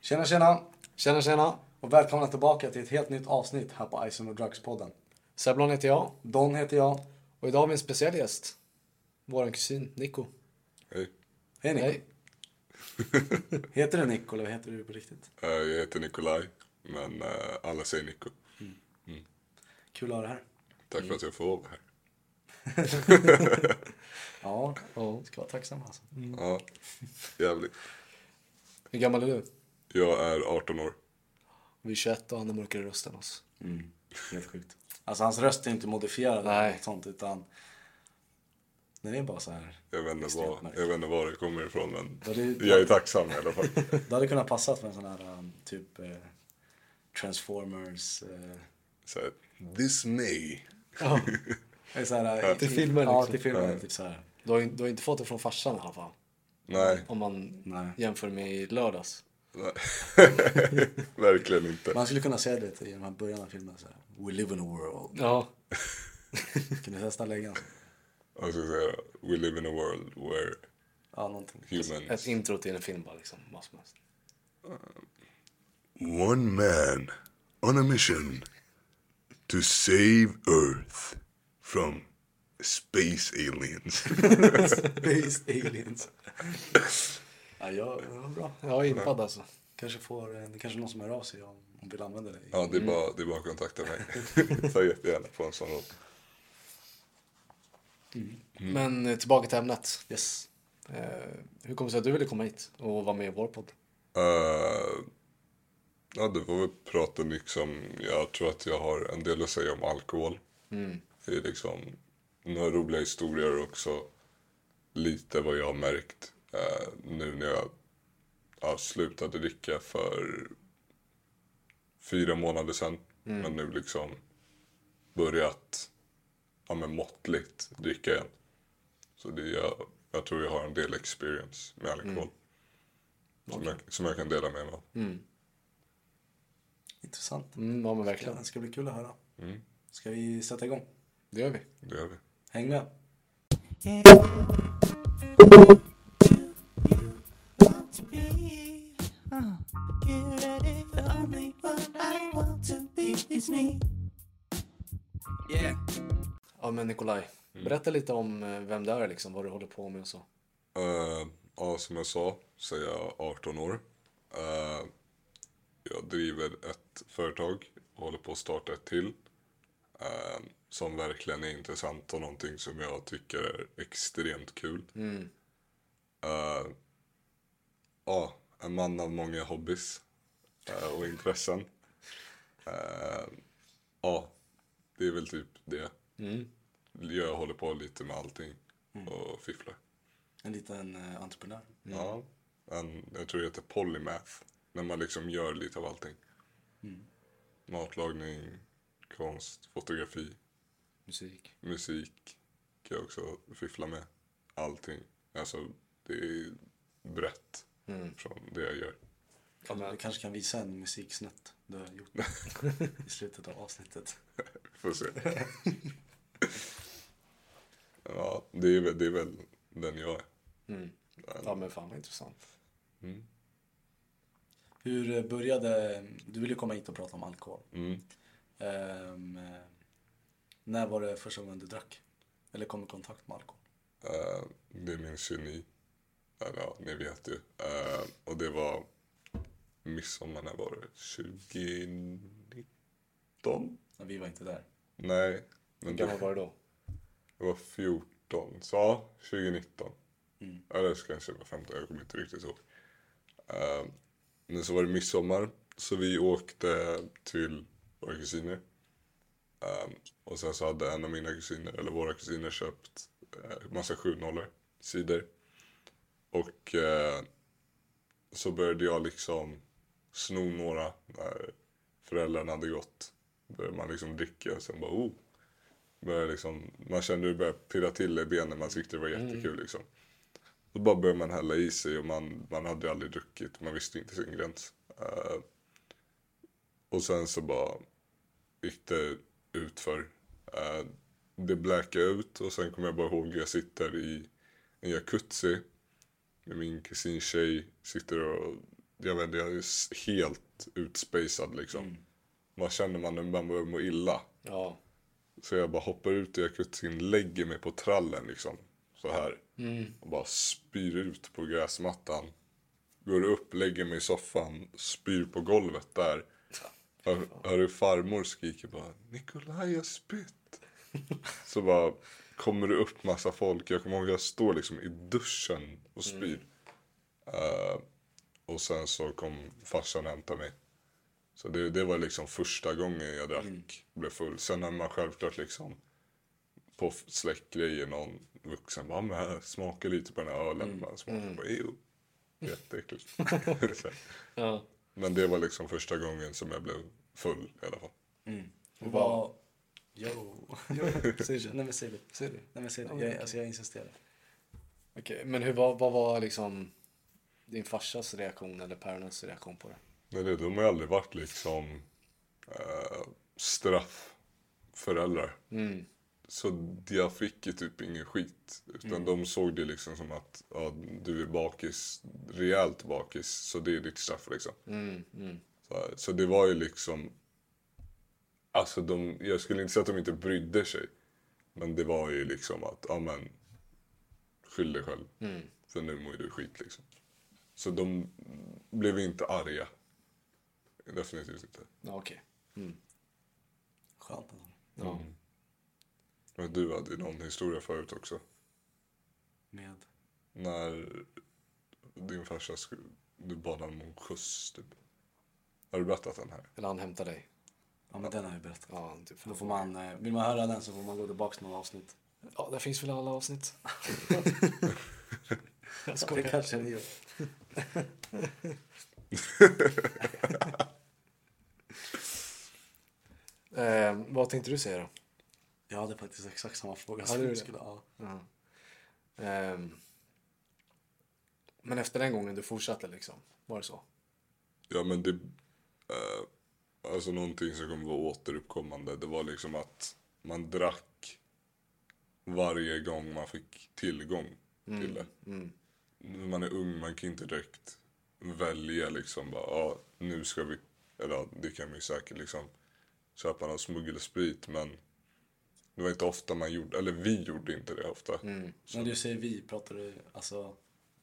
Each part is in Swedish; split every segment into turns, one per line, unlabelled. Tjena tjena
Tjena tjena!
och välkomna tillbaka till ett helt nytt avsnitt här på Ison och Drugs-podden.
Seblon heter jag
Don heter jag.
och idag har vi en speciell gäst. Vår kusin Nico.
Hej.
Hej Nico.
Hej.
Heter du Nico eller vad heter du på riktigt?
Eh, Jag heter Nikolaj, men eh, alla säger Nico.
Kul att ha dig här.
Tack för att jag får vara här.
Ja,
Ja.
ska vara tacksam alltså.
Ja, jävligt.
Hur gammal är du?
Jag är 18 år.
Vi är 21 och han har mörkare röst än oss.
Mm. Helt sjukt. Alltså hans röst är inte modifierad eller
Nej.
något sånt utan den är bara så här.
Jag vet inte
Extremt
var,
mörkt.
jag vet inte var det kommer ifrån, men
Ja, det-
jag är tacksam i alla fall.
Det hade kunnat passa för en sån här um, typ eh, Transformers. eh,
Så här, this me.
eh, så här,
Till filmen,
Ja,
liksom.
till filmen.
Ja.
Typ så här.
Du har, ju- du har inte fått det från farsan i alla fall.
Nej,
Om man
Nej.
jämför med i lördags.
nej. verkligen inte.
Man skulle kunna säga det i den här början av filmen. Så här, We live in a world.
Ja.
Kan du testa lägga en sån?
Jag ska säga, we live in a world where
Ja, någonting.
humans...
Ett intro till Alltså, en film bara liksom. Vad som helst.
One man on a mission to save Earth from space aliens.
Space aliens. ja, jag, det var bra.
Jag är impad alltså.
Kanske får, eh, det kanske är någon som hör av sig om om vill använda det.
Ja, det är bara, det är bara att kontakta mig. Ta jättegärna på en sån roll.
Mm.
Men eh, tillbaka till ämnet.
Yes.
Eh, hur kommer det sig att du ville komma hit och vara med i vår podd?
Eh, ja, det var väl prata liksom, jag tror att jag har en del att säga om alkohol. Det är liksom några roliga historier och också lite vad jag har märkt eh, nu när jag ja, slutade dricka för fyra månader sedan. Men nu liksom börjat ja, men måttligt dricka igen. Så det, jag, jag tror jag har en del experience med alkohol. Som, jag, som jag kan dela med mig av.
Intressant.
Mm, ja men
Ja,
verkligen.
det ska bli kul att höra. Ska vi sätta igång?
Det gör vi.
Det gör vi.
Häng med.
to be. Uh, Get at it. The only one I want to be is me. Yeah.
Ja men Nikolaj. Berätta lite om eh, vem du är liksom. Vad du håller på med och så.
Eh, ja, som jag sa så är jag 18 år. Eh, jag driver ett företag och håller på att starta ett till. eh, som verkligen är intressant och någonting som jag tycker är extremt kul. Eh, ja, en man av många hobbys eh, och intressen. Eh, ja, det är väl typ det. Jag håller på lite med allting och fifflar.
En liten eh, entreprenör.
Ja. En, jag tror det heter polymath. När man liksom gör lite av allting. Matlagning, konst, fotografi,
Musik.
musik. Kan jag också fiffla med. Allting. Alltså det är brett från det jag gör.
Kan, du kanske kan visa en musiksnutt du har gjort i slutet av avsnittet.
Får se. ja, det är, väl, det är väl den jag är.
Ja men fan vad intressant. Mm.
Hur eh, började, du ville komma hit och prata om alkohol.
Mm.
Ehm, eh, när var det första gången du drack? Eller kom i kontakt med alkohol?
Eh, det minns ju ni. Eller ja, ni vet ju. Eh, och det var midsommar, när var det? 2019?
När vi var inte där.
Nej,
Hur
men
gammal
det,
var du då?
det var 14. Så ja, 2019. Eller så kanske det var 15, jag kommer inte riktigt ihåg. Eh, men så var det midsommar. Så vi åkte till våra kusiner. Eh, och sen så hade en av mina kusiner, eller våra kusiner, köpt eh, massa 7-0 sidor. Och eh, så började jag liksom sno några när föräldrarna hade gått. Började man liksom dricka och sen bara oh. Började liksom, man kände hur det började pirra till i benen, man tyckte det var jättekul liksom. Då bara började man hälla i sig och man, man hade ju aldrig druckit, man visste inte sin gräns. Eh, och sen så bara gick det utför. Eh, det bläkade ut och sen kommer jag bara ihåg jag sitter i en jacuzzi med min kusins tjej, sitter och jag vet inte, jag är s- helt utspacad liksom. Vad känner man när man börjar må illa?
Ja.
Så jag bara hoppar ut i jacuzzin, lägger mig på trallen liksom. Så här. Och bara spyr ut på gräsmattan. Går upp, lägger mig i soffan, spyr på golvet där. Hör, hör hur farmor skriker bara Nikolaj har spytt. Så bara kommer det upp massa folk. Jag kommer ihåg jag står liksom i duschen och spyr. Eh, och sen så kom farsan och hämtade mig. Så det, det var liksom första gången jag drack och blev full. Sen när man självklart liksom på f- släktgrejer någon vuxen bara "Ah, men här, smaka lite på den här ölen. Man smakar bara ew. Jätteäckligt. Så här.
ja.
men det var liksom första gången som jag blev full i alla fall.
Vad... Jo.
Säg det.
Nej men säg det.
Säg det.
Nej men säg det. Jag, alltså, jag insisterar.
Okej, men hur, vad, vad var liksom din farsas reaktion eller päronens reaktion på det?
Nej, det, de har ju aldrig varit liksom eh, straffföräldrar.
Mm,
Så jag fick ju typ ingen skit. Utan de såg det liksom som att ja, du är bakis, rejält bakis, så det är ditt straff liksom.
mm,
Så, här, så det var ju liksom... Alltså de, jag skulle inte säga att de inte brydde sig. Men det var ju liksom att, ja men, skyll dig själv. För nu mår ju du skit liksom. Så de blev inte arga. Definitivt inte.
Ja, okej.
Skönt.
Ja.
Men du hade ju någon historia förut också.
Med...
När din farsa skulle, du bad honom om skjuts typ. Har du berättat den här?
Eller han hämtade dig.
Ja men den har jag berättat.
Ja, typ.
Då får man, eh, vill man höra den så får man gå tillbaka några avsnitt.
ja, där finns väl alla avsnitt. jag
Det
skojar.
kanske ni gör.
Eh, vad tänkte du säga då?
Jag hade faktiskt exakt samma fråga
Hade
som
du
du
det?
skulle ha.
Ehm, men efter den gången du fortsatte liksom, var det så?
Ja men det... Eh, alltså någonting som kommer vara återuppkommande. Det var liksom att man drack varje gång man fick tillgång till det. När man är ung, man kan inte direkt välja liksom bara, ja nu ska vi, eller ja, det kan man ju säkert liksom köpa någon smuggelsprit men det var inte ofta man gjorde, eller vi gjorde inte det ofta,
När du säger vi, pratar du alltså...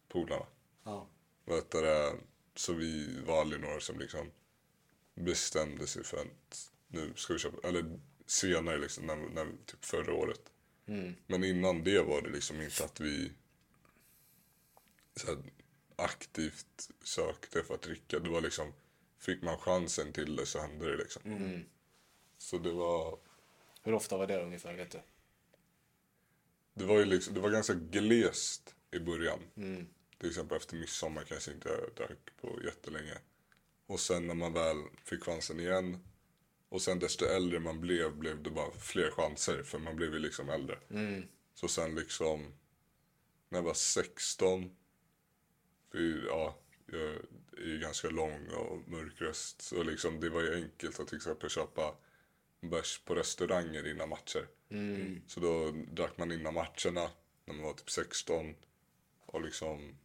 polarna.
Ja.
Vet du, det, så vi var aldrig några som liksom bestämde sig för att nu ska vi köpa, eller senare liksom, när, när, typ förra året. Men innan det var det liksom inte att vi så här, aktivt sökte för att dricka. Det var liksom, fick man chansen till det så hände det liksom. Så det var,
Hur ofta var det ungefär, vet du?
det var ju liksom, det var ganska glest i början. Till exempel efter midsommar kanske inte jag drack på jättelänge. Och sen när man väl fick chansen igen. Och sen desto äldre man blev blev det bara fler chanser för man blev ju liksom äldre. Så sen liksom när jag var 16. För ja, jag är ju ganska lång och mörk röst. Så liksom det var ju enkelt att till exempel köpa bärs på restauranger innan matcher.
Mm.
Så då drack man innan matcherna när man var typ 16. Och liksom...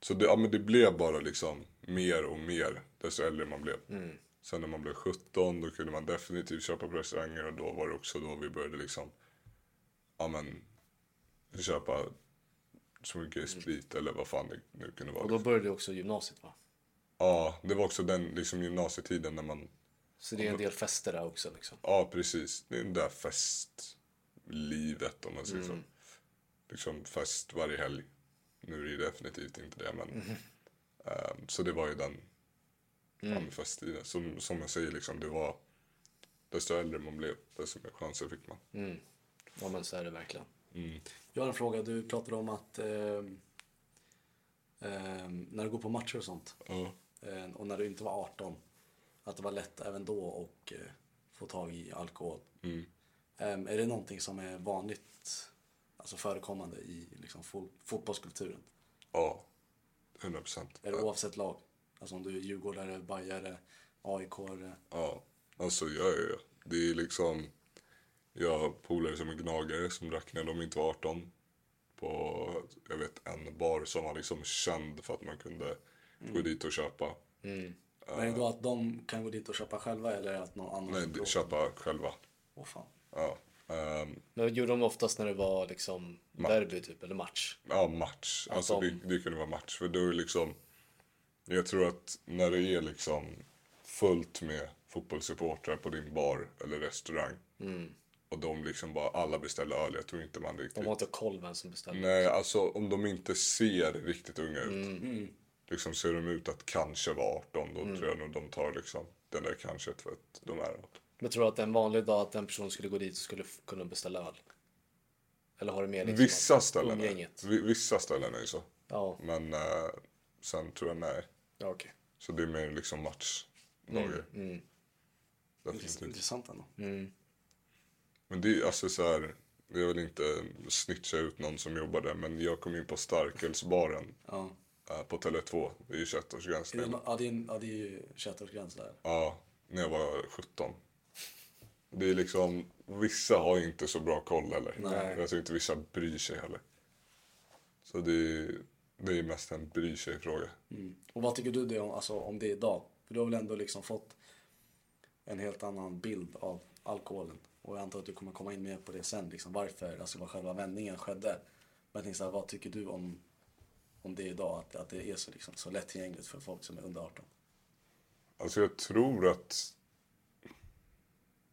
Så det, ja, men det blev bara liksom mer och mer desto äldre man blev.
Mm.
Sen när man blev 17 då kunde man definitivt köpa på restauranger och då var det också då vi började liksom ja men köpa så mycket sprit eller vad fan det nu kunde vara.
Och då började du också gymnasiet va?
Ja, det var också den liksom gymnasietiden när man
Så
Mm.
det är en del fester där också liksom.
Ja, precis. Det är det där festlivet om man säger så. Liksom fest varje helg. Nu är det ju definitivt inte det, men... ehm, så det var ju den mm. festtiden. Som, som jag säger, liksom, det var... Desto äldre man blev, desto mer chanser fick man.
Ja men så är det verkligen.
Jag har en fråga. Du pratade om att ehm, ehm, när du går på matcher och sånt
Ja.
eh, och när du inte var 18 att det var lätt även då och eh, få tag i alkohol. Ehm, är det någonting som är vanligt, alltså förekommande i liksom, fo- fotbollskulturen?
Ja, 100 procent.
Är det oavsett lag? Alltså om du är djurgårdare, bajare, aik
Ja, alltså jag är ju- Det är liksom... Jag har polare som är gnagare som drack när de inte var 18. På jag vet, en bar som var liksom känd för att man kunde Gå
Mm.
dit och köpa.
Alltså,
Men är det då att de kan gå dit och köpa själva eller att någon annan...
Nej,
Åh,
d- köpa själva.
fan.
Ja. Ehm,
Men det gjorde de oftast när det var liksom derby typ, eller match.
Ja, match. Alltså
de-
det, det kunde vara match. För då är det liksom... Jag tror att när det är liksom fullt med fotbollssupportrar på din bar eller restaurang och de liksom bara alla beställer öl, jag tror inte man riktigt...
Mm. De har inte koll vem som beställde.
Nej, alltså om de inte ser riktigt unga ut. Liksom ser de ut att kanske vara 18, då tror jag nog de tar liksom den där kanske för att de är 18.
Men tror du att en vanlig dag att en person skulle gå dit och skulle f- kunna beställa öl? Eller har du med liksom
Vissa
att-
ställen
umgänget?
är, vi- vissa ställen är så.
Ja,
Men eh, sen tror jag nej.
ja okej.
Så det är mer liksom matchdagar. Definitivt.
Intressant ändå.
Men det är alltså så här. Jag vill inte snitcha ut någon som jobbar där men jag kom in på starkölsbaren
Ja.
eh, på Tele2 i
Är det,
21-årsgränsen.
ja, det är, en- ja, det är ju 21-årsgräns där.
Ja, när jag var 17. Det är liksom, vissa har inte så bra koll heller.
Nej.
Jag tror inte vissa bryr sig heller. Så det är, det är mest en bryr sig-fråga.
Och vad tycker du det om, alltså, om det idag? För du har väl ändå liksom fått en helt annan bild av alkoholen. Och jag antar att du kommer komma in mer på det sen, liksom, varför alltså, vad själva vändningen skedde. Men jag tänkte så här, vad tycker du om, om det idag? Att, att det är så, liksom, så lättillgängligt för folk som är under 18?
Alltså jag tror att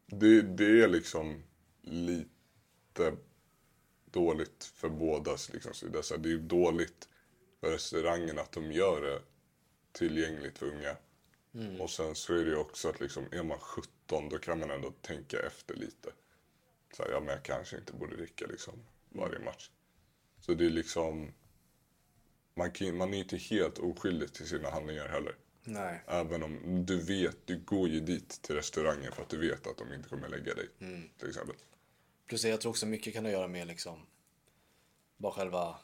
det, det är liksom lite dåligt för bådas liksom sida. Så det är ju dåligt för restaurangen att de gör det tillgängligt för unga. Och sen så är det ju också att liksom, är man 17 då kan man ändå tänka efter lite. Så här, ja men jag kanske inte borde dricka liksom varje match. Så det är liksom, man, kan, man är ju inte helt oskyldig till sina handlingar heller.
Nej.
Även om du vet, du går ju dit till restaurangen för att du vet att de inte kommer lägga dig. Till exempel.
Plus jag tror också mycket kan ha att göra med liksom bara själva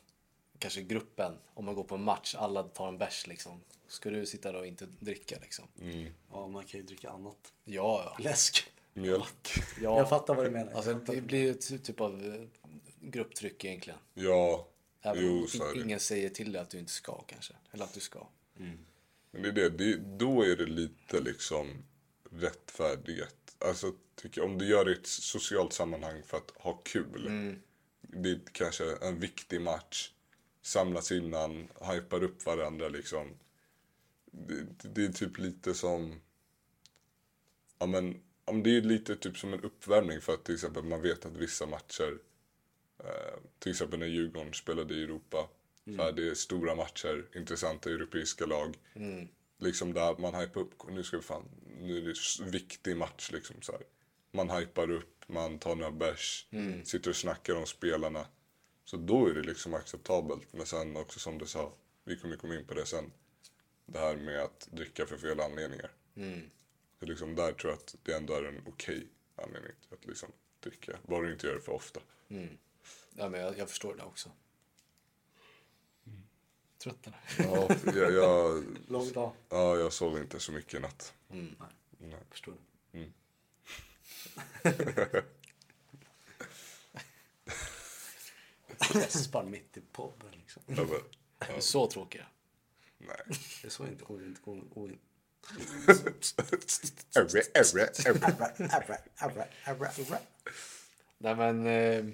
kanske gruppen. Om man går på en match, alla tar en bärs liksom. Ska du sitta där och inte dricka liksom?
Mm.
Ja, man kan ju dricka annat.
Ja, ja.
Läsk.
Mjölk.
ja.
Jag fattar vad du menar.
Alltså det blir ju ett typ av eh, grupptryck egentligen.
Ja,
Även om
jo
i-
så är det.
ingen säger till dig att du inte ska kanske. Eller att du ska.
Men det är det. det. Då är det lite liksom rättfärdigt. Alltså tycker jag, om du gör det i ett socialt sammanhang för att ha kul. Det är kanske en viktig match. Samlas innan, hypar upp varandra liksom. Det, det- det är typ lite som... Ja men, ja, men det är lite typ som en uppvärmning för att till exempel man vet att vissa matcher, eh, till exempel när Djurgården spelade i Europa, så här, det är stora matcher, intressanta europeiska lag. Liksom där man hypar upp, nu ska vi fan, nu är det s- viktig match liksom så här. Man hypar upp, man tar några bärs, sitter och snackar om spelarna. Så då är det liksom acceptabelt. Men sen också som du sa, vi kommer komma in på det sen det här med att dricka för fel anledningar. Så liksom där tror jag att det ändå är en okej anledning till att liksom dricka. Bara du inte gör det för ofta.
Ja, men jag, jag förstår det också. Tröttnar.
Ja, jag, jag,
Lång dag.
ja, jag sov inte så mycket i natt.
Nej,
Nej.
förstår du. Gäspar mitt i podden liksom.
Jag bara,
Ja. Så tråkiga.
nej.
Det är så inte oint, oint, oint.
Erre, erre, erre.
Nej men... Eh,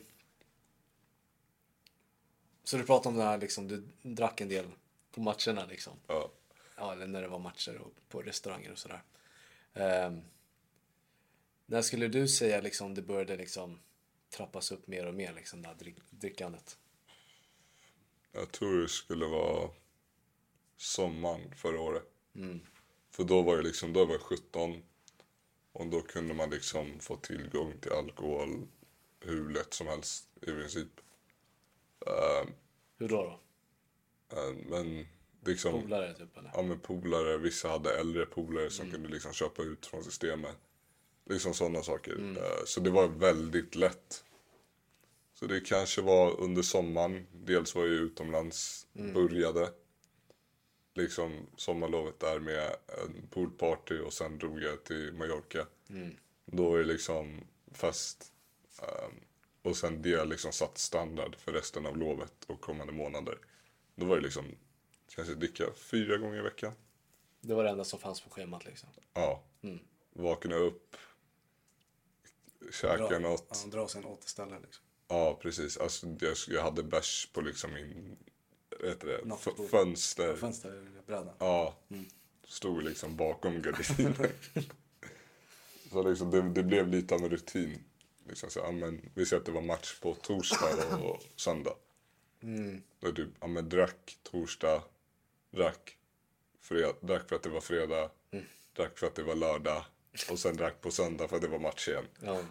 så du pratade om det här liksom, du drack en del på matcherna liksom.
Ja.
Ja, eller när det var matcher och på restauranger och sådär. Ehm, när skulle du säga liksom det började liksom trappas upp mer och mer liksom det här drick- drickandet?
Jag tror det skulle vara sommaren förra året. För då var jag liksom, då var jag 17. Och då kunde man liksom få tillgång till alkohol hur lätt som helst i princip. Eh,
Hur då då?
eh, men liksom...
Polare typ eller?
ja, men polare, vissa hade äldre polare som kunde liksom köpa ut från systemet. Liksom sådana saker. Eh, Så det var väldigt lätt. Så det kanske var under sommaren. Dels var jag ju utomlands, började liksom sommarlovet där med en poolparty och sen drog jag till Mallorca. Då var det liksom fest. ehm, och sen det liksom satt standard för resten av lovet och kommande månader. Då var det liksom Kanske dricka fyra gånger i veckan.
Det var det enda som fanns på schemat liksom.
Ja. Vakna upp.
Dra,
Käka något.
ja, dra sin återställare liksom.
Ja, precis. Alltså, jag, jag hade bärs på liksom min vad heter det,
Nattduksbord.
f- fönster.
Fönsterbrädan.
Ja, stod liksom bakom gardinen. så liksom, det, det blev lite av en rutin. Liksom så, ja, men, vi säger att det var match på torsdag och, och söndag. Då typ, ja, men, drack torsdag, drack, fred, drack för att det var fredag, drack för att det var lördag och sen drack på söndag för att det var match igen.
Ja.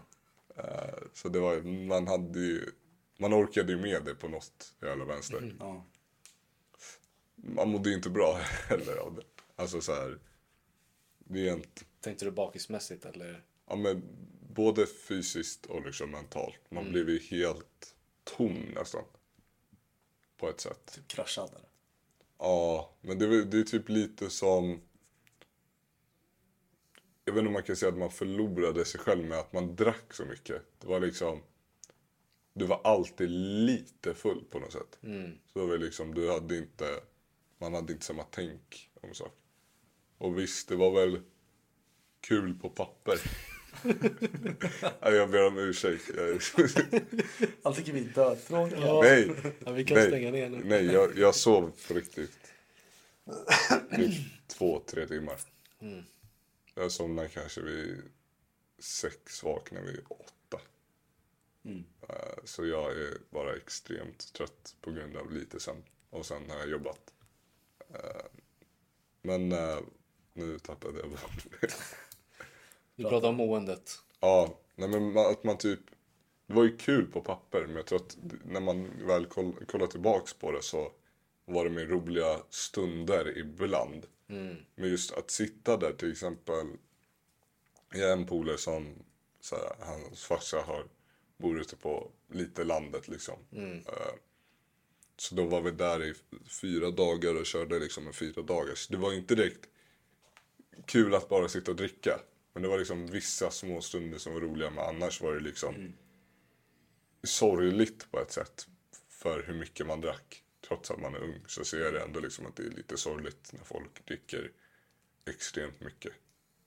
Eh, Så det var, ju- man hade ju, man orkade ju med det på något jävla vänster.
Ja.
Man mådde ju inte bra heller av det. Alltså så här, rent,
Tänkte du bakismässigt eller?
ja men både fysiskt och liksom mentalt. Man
Mm.
blev ju helt tom nästan. På ett sätt.
Typ kraschad där.
Ja, men det, är väl- det är typ lite som... Jag vet inte om man kan säga att man förlorade sig själv med att man drack så mycket. Det var liksom... Du var alltid lite full på något sätt.
Mm.
Så det var liksom, du hade inte... Man hade inte samma tänk om saker. Och visst, det var väl kul på papper. Nej, jag ber om ursäkt. Jag-
Allt tycker vi är dödtråkiga.
Ja.
Nej.
Ja, vi kan
nej,
stänga ner nu.
Nej, jag, jag sov på riktigt. Typ två, tre timmar.
Mm.
Jag somnade kanske vid sex, vaknade vid åtta.
Mm.
Eh, Så jag är bara extremt trött på grund av lite sömn. Och sen har jag jobbat. Eh, Men eh, nu tappade jag bort det.
Du pratar om måendet.
Ja, nej men man, att man typ... Det var ju kul på papper, men jag tror att när man väl koll, kollar tillbaks på det så var det mer roliga stunder ibland. Men just att sitta där till exempel. Jag har en polare som så här, hans farsa har, bor ute på lite landet liksom. Eh, Så då var vi där i fyra dagar och körde liksom en fyra dagars. Det var ju inte direkt kul att bara sitta och dricka. Men det var liksom vissa små stunder som var roliga men annars var det liksom sorgligt på ett sätt för hur mycket man drack. Trots att man är ung så ser jag det ändå liksom att det är lite sorgligt när folk dricker extremt mycket.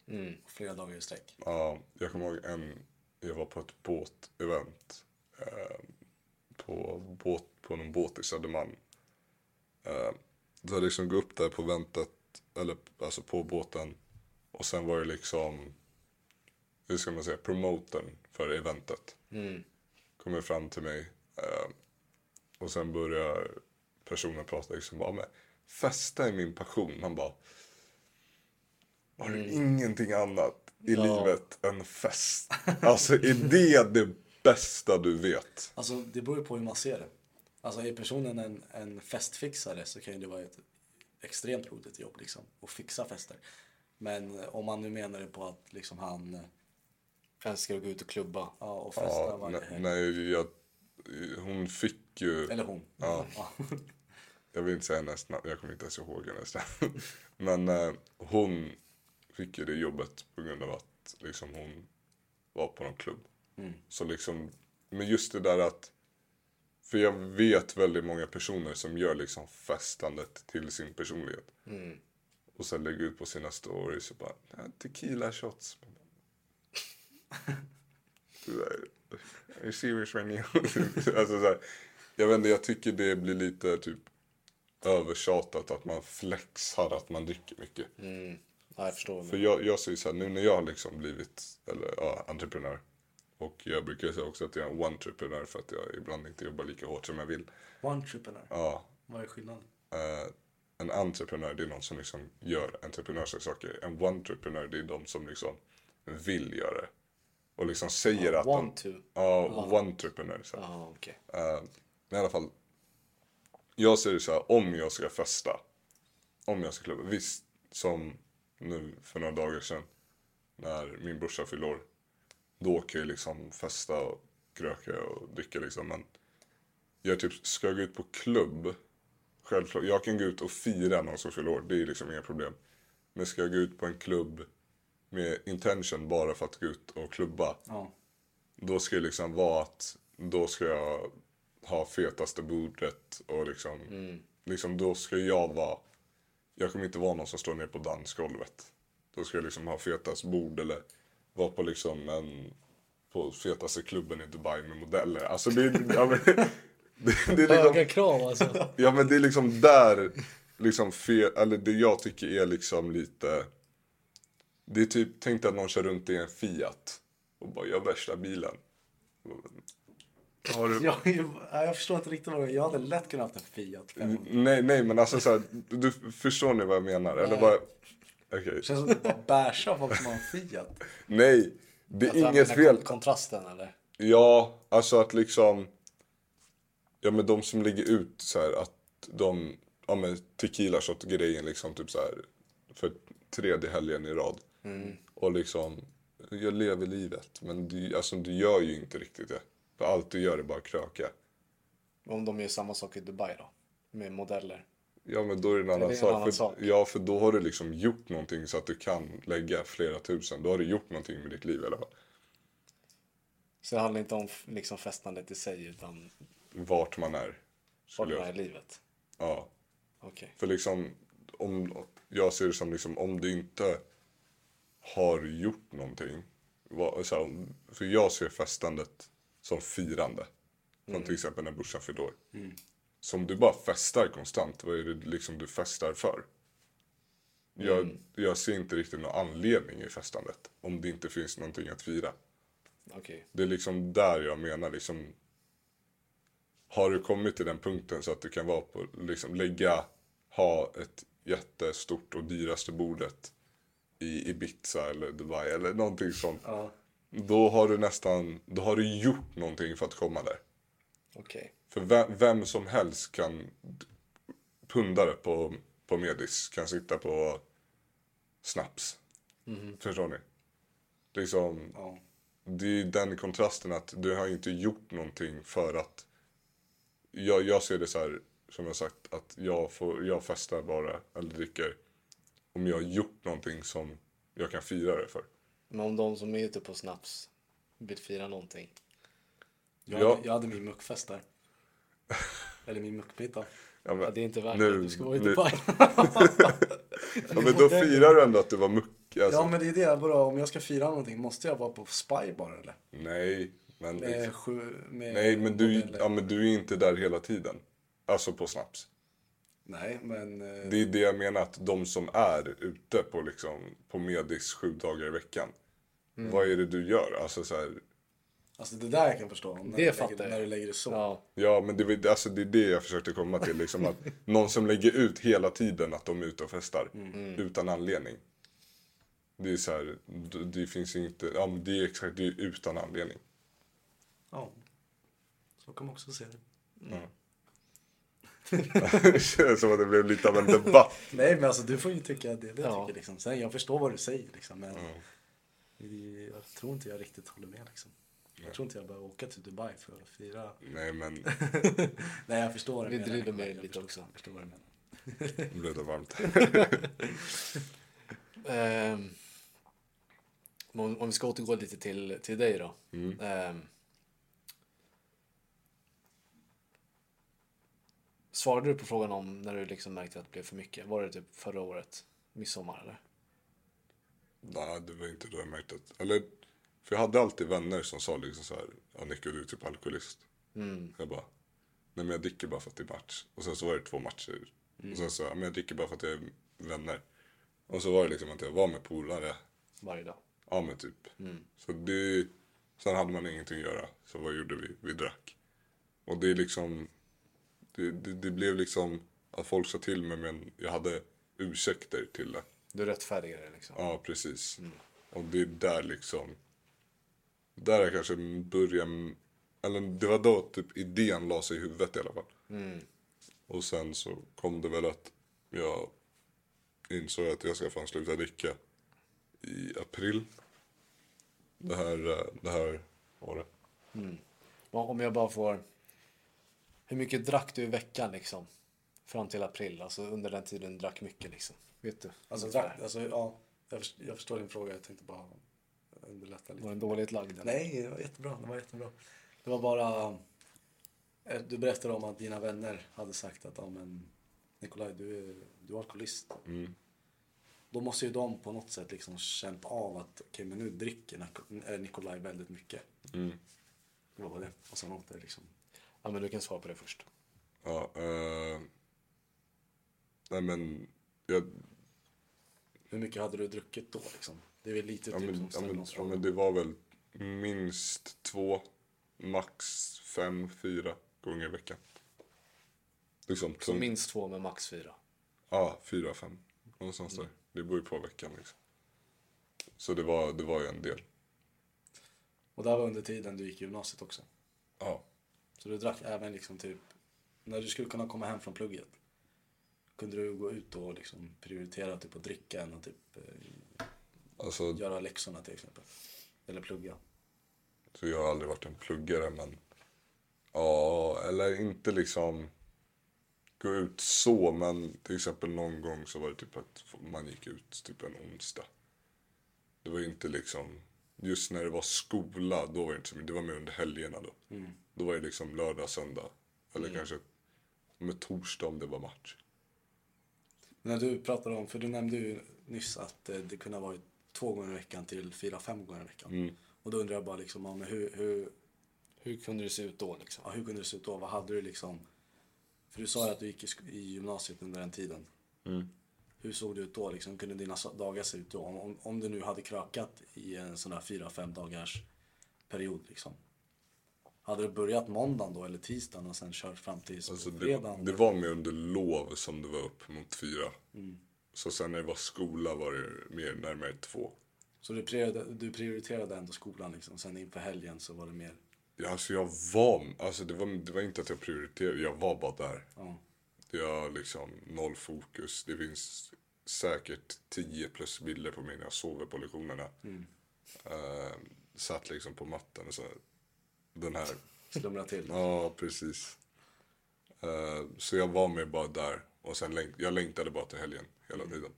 Mm.
Flera dagar i sträck.
Ja, jag kommer ihåg en, jag var på ett båtevent. Eh, på, båt, på någon båt i Södermalm. Eh, så jag liksom gå upp där på väntet, eller alltså på båten. Och sen var det liksom, hur ska man säga, promotern för eventet. Kommer fram till mig. Eh, och sen börjar personen prata liksom, bara, men festa är min passion. Man bara, har du
Mm.
ingenting annat i livet än fest? Alltså är det det bästa du vet?
Alltså det beror ju på hur man ser det. Alltså är personen en, en festfixare så kan ju det vara ett extremt roligt jobb liksom. Att fixa fester. Men eh, om man nu menar det på att liksom han, eh,
Älskar att gå ut och klubba.
ja och festa
Ja,
varje
ne-
helg.
nej, jag, hon fick ju...
Eller hon.
Ja.
Ja.
Jag vill inte säga hennes namn, jag kommer inte ens ihåg hennes namn. Men eh, hon fick ju det jobbet på grund av att liksom, hon var på någon klubb. Så liksom, men just det där att... För jag vet väldigt många personer som gör liksom festandet till sin personlighet. Och sen lägger ut på sina stories och bara "Nej, tequila shots. Are you serious right now? alltså, så här, jag vet inte, jag tycker det blir lite typ övertjatat att man flexar att man dricker mycket.
Ja, jag förstår.
För jag, jag säger så här, nu när jag har liksom blivit eller, ja, entreprenör och jag brukar säga också att jag är en one-entreprenör för att jag ibland inte jobbar lika hårt som jag vill.
One triprenör.
Ja,
Vad är skillnaden?
eh, en entreprenör det är någon som liksom gör entreprenörssaker. En one-entreprenör det är de som liksom vill göra det. Och liksom säger att
Want
de...
to.
Ja, one-entreprenör. Så här.
Ja, okej.
Eh, men i alla fall. Jag ser det så här, om jag ska festa. Om jag ska klubba. Visst, som nu för några dagar sedan. När min brorsa fyllde år. Då kan jag liksom festa och kröka och dricka liksom. Men jag typ, ska jag gå ut på klubb. Självklart, jag kan gå ut och fira någon som fyller år. Det är liksom inga problem. Men ska jag gå ut på en klubb med intention bara för att gå ut och klubba
Ja.
då ska det liksom vara att då ska jag ha fetaste bordet och liksom,
Mm.
liksom då ska jag vara, jag kommer inte vara någon som står ner på dansgolvet. Då ska jag liksom ha fetast bord eller vara på liksom en, på fetaste klubben i Dubai med modeller. Alltså det, är- ja, men, det, det är liksom,
Höga krav alltså.
Ja men det är liksom där liksom fel, eller det jag tycker är liksom lite Det är typ, tänk dig att någon kör runt i en Fiat och bara jag är värsta bilen. Har du...
Jag, jag förstår inte riktigt vad du... Jag hade lätt kunnat haft en Fiat. Det
Nej nej men alltså så här, du förstår ni vad jag menar? Eller vad... Okej.
känns som att du bara bärsar folk som har en Fiat.
Nej, det
Alltså,
är inget
Den här
fel.
Kontrasten eller?
Ja, alltså att liksom... Ja men de som lägger ut så här att de... Ja men tequila shot-grejen liksom typ så här för tredje helgen i rad. Och liksom, jag lever livet. Men du, alltså, du gör ju inte riktigt det. För allt du gör är bara att kröka.
Om de gör samma sak i Dubai då? Med modeller.
Ja men då är det en annan,
en
sak.
annan
för,
sak.
Ja för då har du liksom gjort någonting så att du kan lägga flera tusen. Då har du gjort någonting med ditt liv i alla fall.
Så det handlar inte om f- liksom festandet i sig utan
Vart man är.
vart
skulle
man
jag-
är i livet.
Ja.
Okej.
För liksom, om, jag ser det som liksom, om du inte har gjort någonting. Vad, så här, om- för jag ser festandet som firande. Som till exempel när brorsan fyllde år. Så om du bara festar konstant, vad är det liksom du festar för? Jag, jag ser inte riktigt någon anledning i festandet. Om det inte finns någonting att fira.
Okej.
Det är liksom där jag menar liksom. Har du kommit till den punkten så att du kan vara på, liksom lägga, ha ett jättestort och dyraste bordet i Ibiza eller Dubai eller någonting sånt.
Ja.
Då har du nästan, då har du gjort någonting för att komma där.
Okej.
För vem, vem som helst kan pundare på, på Medis kan sitta på snaps.
Mhm.
Förstår ni? Liksom,
Ja.
det är ju den kontrasten att du har ju inte gjort någonting för att... Jag, jag ser det så här, som jag sagt, att jag, får, jag festar bara, eller dricker, om jag har gjort någonting som jag kan fira det för.
Men om de som är ute på snaps vill fira någonting.
Jag,
Ja.
hade, jag hade min muckfest där. Eller min muckpita.
Ja, men,
Ja, det är inte värt
nu-
det. Du ska vara i
nu-
Dubai.
ja, men då firar du ändå att du var muck. Alltså.
Ja men det är det, bara, om jag ska fira någonting måste jag vara på Spy bara eller?
Nej, men...
Med sju, med
Nej, men du,
modeller.
ja, men du är inte där hela tiden. Alltså på snaps.
Nej men... eh,
Det är det jag menar, att de som är ute på, liksom, på Medis sju dagar i veckan. Vad är det du gör? Alltså så här,
Alltså det där jag kan förstå. När
Det
du
fattar
lägger,
jag.
När du lägger det så.
Ja.
ja, men det, var- alltså, det är det jag försökte komma till. Liksom, att någon som lägger ut hela tiden att de är ute och festar utan anledning. Det är så här, d- det finns inte, ja men det är exakt, det är utan anledning.
Ja. Så kan man också se det.
det känns som att det blev lite av en debatt.
Nej men alltså du får ju tycka det, det jag
Ja.
tycker liksom. Sen jag förstår vad du säger liksom men
Mm.
jag tror inte jag riktigt håller med liksom. Jag tror inte jag behöver åka till Dubai för att fira.
Nej men,
Nej jag förstår vad du
Vi
menar.
driver med
Jag
det lite
förstår-
också.
Jag förstår vad du menar.
nu blev det varmt.
Ehm, om, om vi ska återgå lite till, till dig då. Ehm, svarade du på frågan om när du liksom märkte att det blev för mycket? Var det typ förra året? Midsommar eller?
Nej, det var inte då jag märkte att... Eller, för jag hade alltid vänner som sa liksom så här, ja Nico du är typ alkoholist. Jag bara, nej men jag dricker bara för att det är match. Och sen så var det två matcher. Och sen så, ja men jag dricker bara för att jag är vänner. Och så var det liksom att jag var med polare,
Varje dag?
ja men typ. Så det, sen hade man ingenting att göra, så vad gjorde vi? Vi drack. Och det är liksom, det, det, det blev liksom att folk sa till mig men jag hade ursäkter till det.
Du rättfärdigar det liksom?
Ja, precis. Och det är där liksom... Där jag kanske började... Eller det var då typ idén la sig i huvudet i alla fall. Och sen så kom det väl att jag insåg att jag ska fan sluta dricka i april. Det här, eh, det här året.
Men Om jag bara får... Hur mycket drack du i veckan liksom? Fram till april, alltså under den tiden drack mycket liksom. Vet du?
Alltså, drack, alltså ja, jag förstår, jag förstår din fråga. Jag tänkte bara underlätta lite.
Var den dåligt lagd? eller?
Nej, det var jättebra. Det var jättebra. Det var bara... Eh, Du berättade om att dina vänner hade sagt att ja, men, Nikolaj, du är, du är alkoholist.
Mm.
Då måste ju de på något sätt liksom känt av att okej, men nu dricker Nak- eh, Nikolaj väldigt mycket.
Mm.
Det var bara det. Och sen åt det liksom.
Ja, men du kan svara på det först.
Ja, eh, nej men, jag,
Hur mycket hade du druckit då liksom? Det är väl lite
ja,
typ
men,
som
ja,
ställer
men,
oss
ja,
frågan.
men det var väl minst två, max fem, fyra gånger i veckan. Liksom,
Så
som-
minst två med max fyra.
Ja, fyra, fem. Någonstans
Mm.
där. Det beror ju på veckan liksom. Så det var, det var ju en del.
Och det här var under tiden du gick i gymnasiet också.
Ja.
Så du drack även liksom typ, när du skulle kunna komma hem från plugget. Kunde du gå ut och liksom prioritera typ att dricka än att typ eh,
Alltså,
göra läxorna till exempel? Eller plugga?
så jag har aldrig varit en pluggare men... Ja, eller inte liksom gå ut så men till exempel någon gång så var det typ att man gick ut typ en onsdag. Det var ju inte liksom... Just när det var skola, då var det inte så mycket. Det var mer under helgerna då. Då var det liksom lördag, söndag. Eller kanske med torsdag om det var match.
Men när du pratar om, för du nämnde ju nyss att eh, det kunde ha varit två gånger i veckan till fyra, fem gånger i veckan. Och då undrar jag bara liksom, ja, men hur, hur,
Mm. Hur kunde det se ut då liksom?
ja, hur kunde det se ut då? Vad hade du liksom? För du sa ju att du gick i, sk- i gymnasiet under den tiden.
Mm.
Hur såg det ut då? Liksom, kunde dina so- dagar se ut då? Om, om, om du nu hade krökat i en sån där fyra, fem dagars period liksom. Hade det börjat måndagen då eller tisdagen och sen kört fram till
Alltså det,
fredagen?
det var mer under lov som det var upp mot fyra. Så sen när det var skola var det mer närmare två.
Så du prioriterade, du prioriterade ändå skolan liksom. Sen inför helgen så var det mer
Ja, Alltså jag var, alltså det var, det var inte att jag prioriterade, jag var bara där.
Ja.
Jag har liksom noll fokus. Det finns säkert 10 plus bilder på mig när jag sover på lektionerna. Mm. satt liksom på matten och så den här.
slumra till.
Ja, precis. Eh, så jag var med bara där och sen läng- jag längtade bara till helgen hela tiden.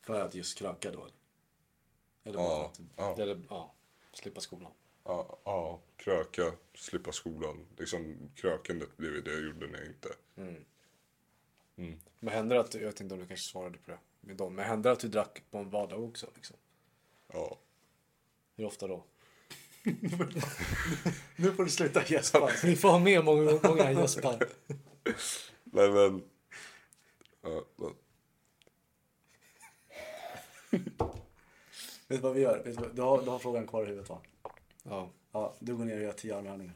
För att just kröka då? eller? Eller bara
Ja,
att,
ja.
Eller ja, slippa skolan.
Ja, ja, kröka, slippa skolan. Liksom, krökandet blev ju det jag gjorde när jag inte...
Men hände det att, jag vet inte om du kanske svarade på det med dem, men hände det att du drack på en vardag också liksom?
Ja.
Hur ofta då?
Nu får du sluta gäspa.
Ni får ha med många gånger han gäspar.
Nej men... Ja, men-
Vet du vad vi gör? Vet du, vad- du, har, du har frågan kvar i huvudet va?
Ja,
Ja, du går ner och gör tio armhävningar.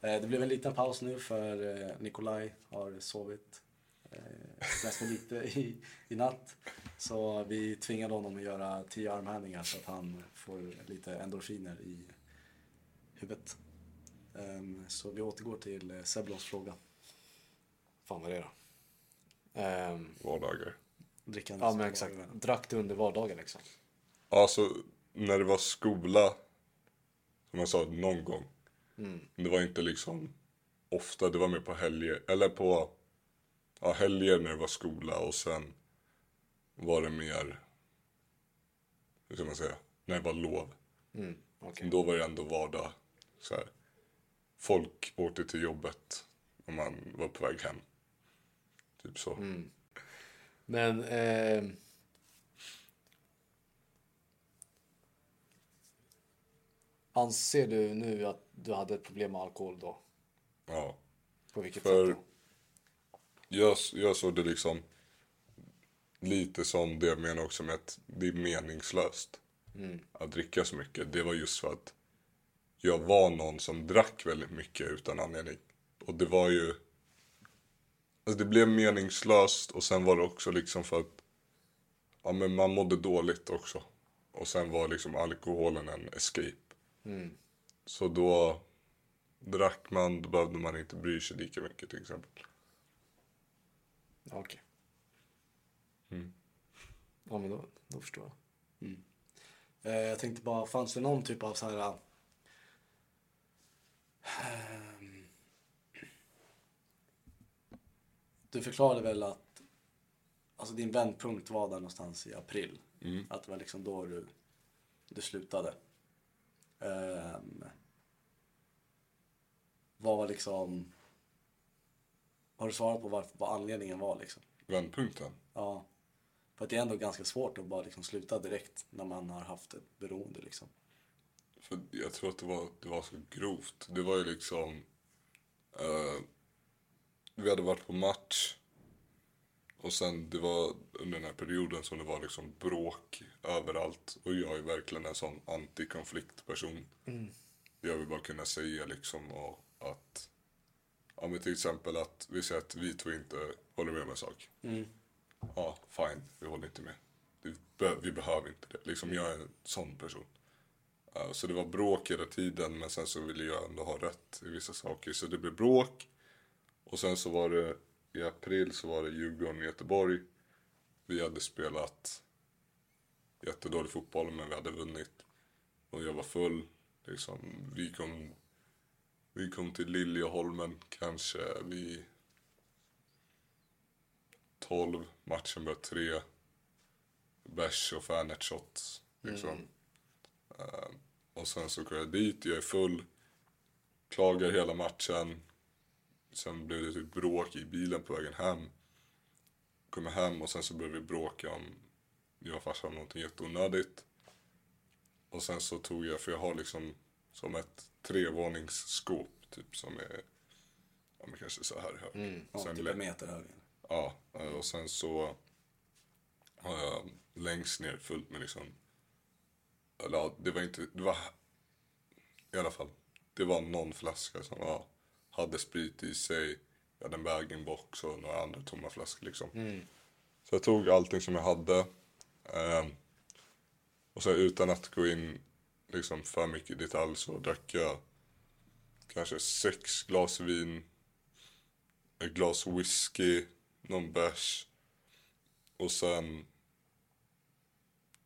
Eh, det blev en liten paus nu för eh, Nikolaj har sovit eh, ganska lite i, i natt. Så vi tvingade honom att göra tio armhävningar så att han får lite endorfiner i huvudet. Ehm, så vi återgår till eh, Seblons fråga.
fan vad det är då. Ehm,
Vardagar.
Drickandes
ja men exakt, drack du under vardagen liksom?
Alltså, när det var skola, som jag sa, någon gång. Men Det var inte liksom ofta, det var mer på helger. Eller på ja, helger när det var skola och sen var det mer... Hur ska man säga? När det var lov.
Mm, okej.
Då var det ändå vardag. Så här. Folk åkte till jobbet när man var på väg hem. Typ så.
Men ehm, Anser du nu att du hade ett problem med alkohol då?
Ja.
På vilket
För-
sätt då?
Jag, jag såg det liksom lite som det jag menar också med att det är meningslöst att dricka så mycket. Det var just för att jag var någon som drack väldigt mycket utan anledning. Och det var ju... Alltså det blev meningslöst och sen var det också liksom för att ja, men man mådde dåligt också. Och sen var liksom alkoholen en escape. Så då drack man, då behövde man inte bry sig lika mycket till exempel.
Okej. Ja men då, då förstår jag.
Eh, Jag tänkte bara, fanns det någon typ av så här... Ehm. Du förklarade väl att alltså din vändpunkt var där någonstans i april. Att det var liksom då du, du slutade. Ehm. Vad var liksom... Har du svarat på varför, vad anledningen var liksom?
Vändpunkten?
Ja. För att det är ändå ganska svårt att bara liksom sluta direkt när man har haft ett beroende liksom.
För jag tror att det var, det var så grovt. Det var ju liksom... eh, vi hade varit på match. Och sen det var under den här perioden som det var liksom bråk överallt. Och jag är verkligen en sån antikonfliktperson. Jag vill bara kunna säga liksom och att... Ja men till exempel att vi säger att vi två inte håller med om en sak. Ja, fine. Vi håller inte med. Det, be- vi behöver inte det. Liksom jag är en sån person. Eh, Så det var bråk hela tiden men sen så ville jag ändå ha rätt i vissa saker. Så det blev bråk. Och sen så var det i april så var det Djurgården i Göteborg. Vi hade spelat jättedålig fotboll men vi hade vunnit. Och jag var full. Liksom, vi, kom, vi kom till Liljeholmen kanske vid 12. Matchen började 3. Bärs och Fanet shots. Liksom. Eh, och sen så går jag dit, jag är full. Klagar hela matchen. Sen blev det typ bråk i bilen på vägen hem. Kommer hem och sen så började vi bråka om jag och farsan om någonting jätteonödigt. Och sen så tog jag, för jag har liksom som ett trevåningsskåp typ som är ja, men kanske så här högt.
Ja,
sen
typ
lä-
en meter högre.
Ja, eh, och sen så har jag längst ner fullt med liksom... Eller ja, det var inte... Det var... I alla fall. Det var någon flaska som var, hade sprit i sig. Jag hade en bag-in-box och några andra tomma flaskor liksom. Så jag tog allting som jag hade. ehm, och så utan att gå in liksom för mycket i detalj så drack jag kanske sex glas vin ett glas whisky, någon bärs. Och sen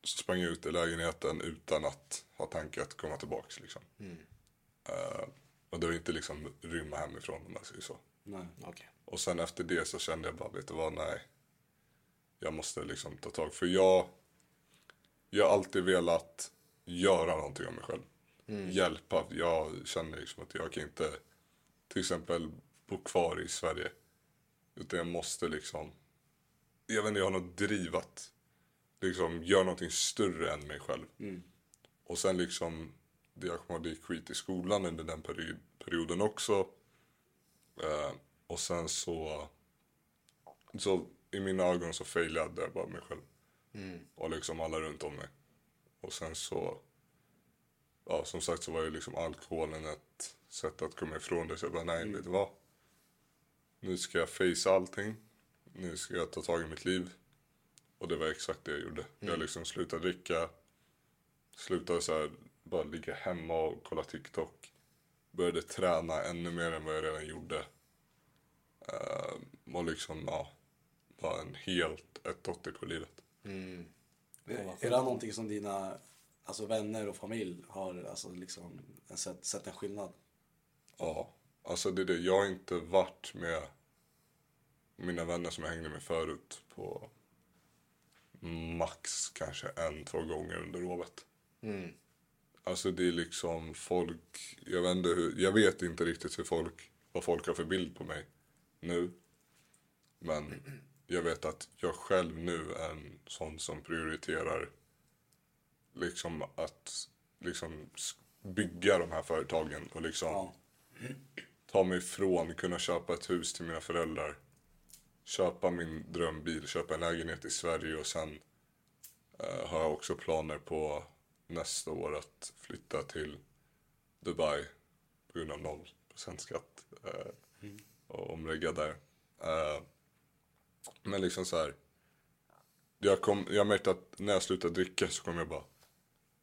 så sprang jag ut i lägenheten utan att ha tanke att komma tillbaks liksom. Eh, och det var inte liksom rymma hemifrån om man säger så.
Nej.
Okej.
Och sen efter det så kände jag bara, vet du vad, nej. Jag måste liksom ta tag. För jag, jag har alltid velat göra någonting av mig själv. Hjälpa. Jag känner liksom att jag kan inte till exempel bo kvar i Sverige. Utan jag måste liksom, jag vet inte, jag har något driv att liksom göra någonting större än mig själv. Och sen liksom, det jag kommer ihåg, det gick skit i skolan under den peri- perioden också. Eh, och sen så... Så i mina ögon så failade jag bara mig själv. Och liksom alla runt om mig. Och sen så... Ja, som sagt så var ju liksom alkoholen ett sätt att komma ifrån det. Så jag bara, nej, vet du vad? Nu ska jag face allting. Nu ska jag ta tag i mitt liv. Och det var exakt det jag gjorde. Jag liksom slutade dricka. Slutade så här, bara ligga hemma och kolla TikTok. Började träna ännu mer än vad jag redan gjorde. Och liksom, ja. Bara en helt, ett dotter på livet.
Mm.
Är det här någonting som dina alltså, vänner och familj har alltså, liksom, en sett, sett en skillnad?
Ja. Alltså det är det, jag har inte varit med mina vänner som jag hängde med förut på max kanske en, två gånger under året. Alltså det är liksom folk, jag vet, inte hur, jag vet inte riktigt hur folk, vad folk har för bild på mig nu. Men jag vet att jag själv nu är en sån som prioriterar liksom att liksom s- bygga de här företagen och liksom
Ja.
ta mig ifrån, kunna köpa ett hus till mina föräldrar. Köpa min drömbil, köpa en lägenhet i Sverige och sen eh, har jag också planer på nästa år att flytta till Dubai på grund av 0 skatt eh, och omlägga där. Eh, men liksom så här. Jag, kom, jag märkte att när jag slutade dricka så kom jag bara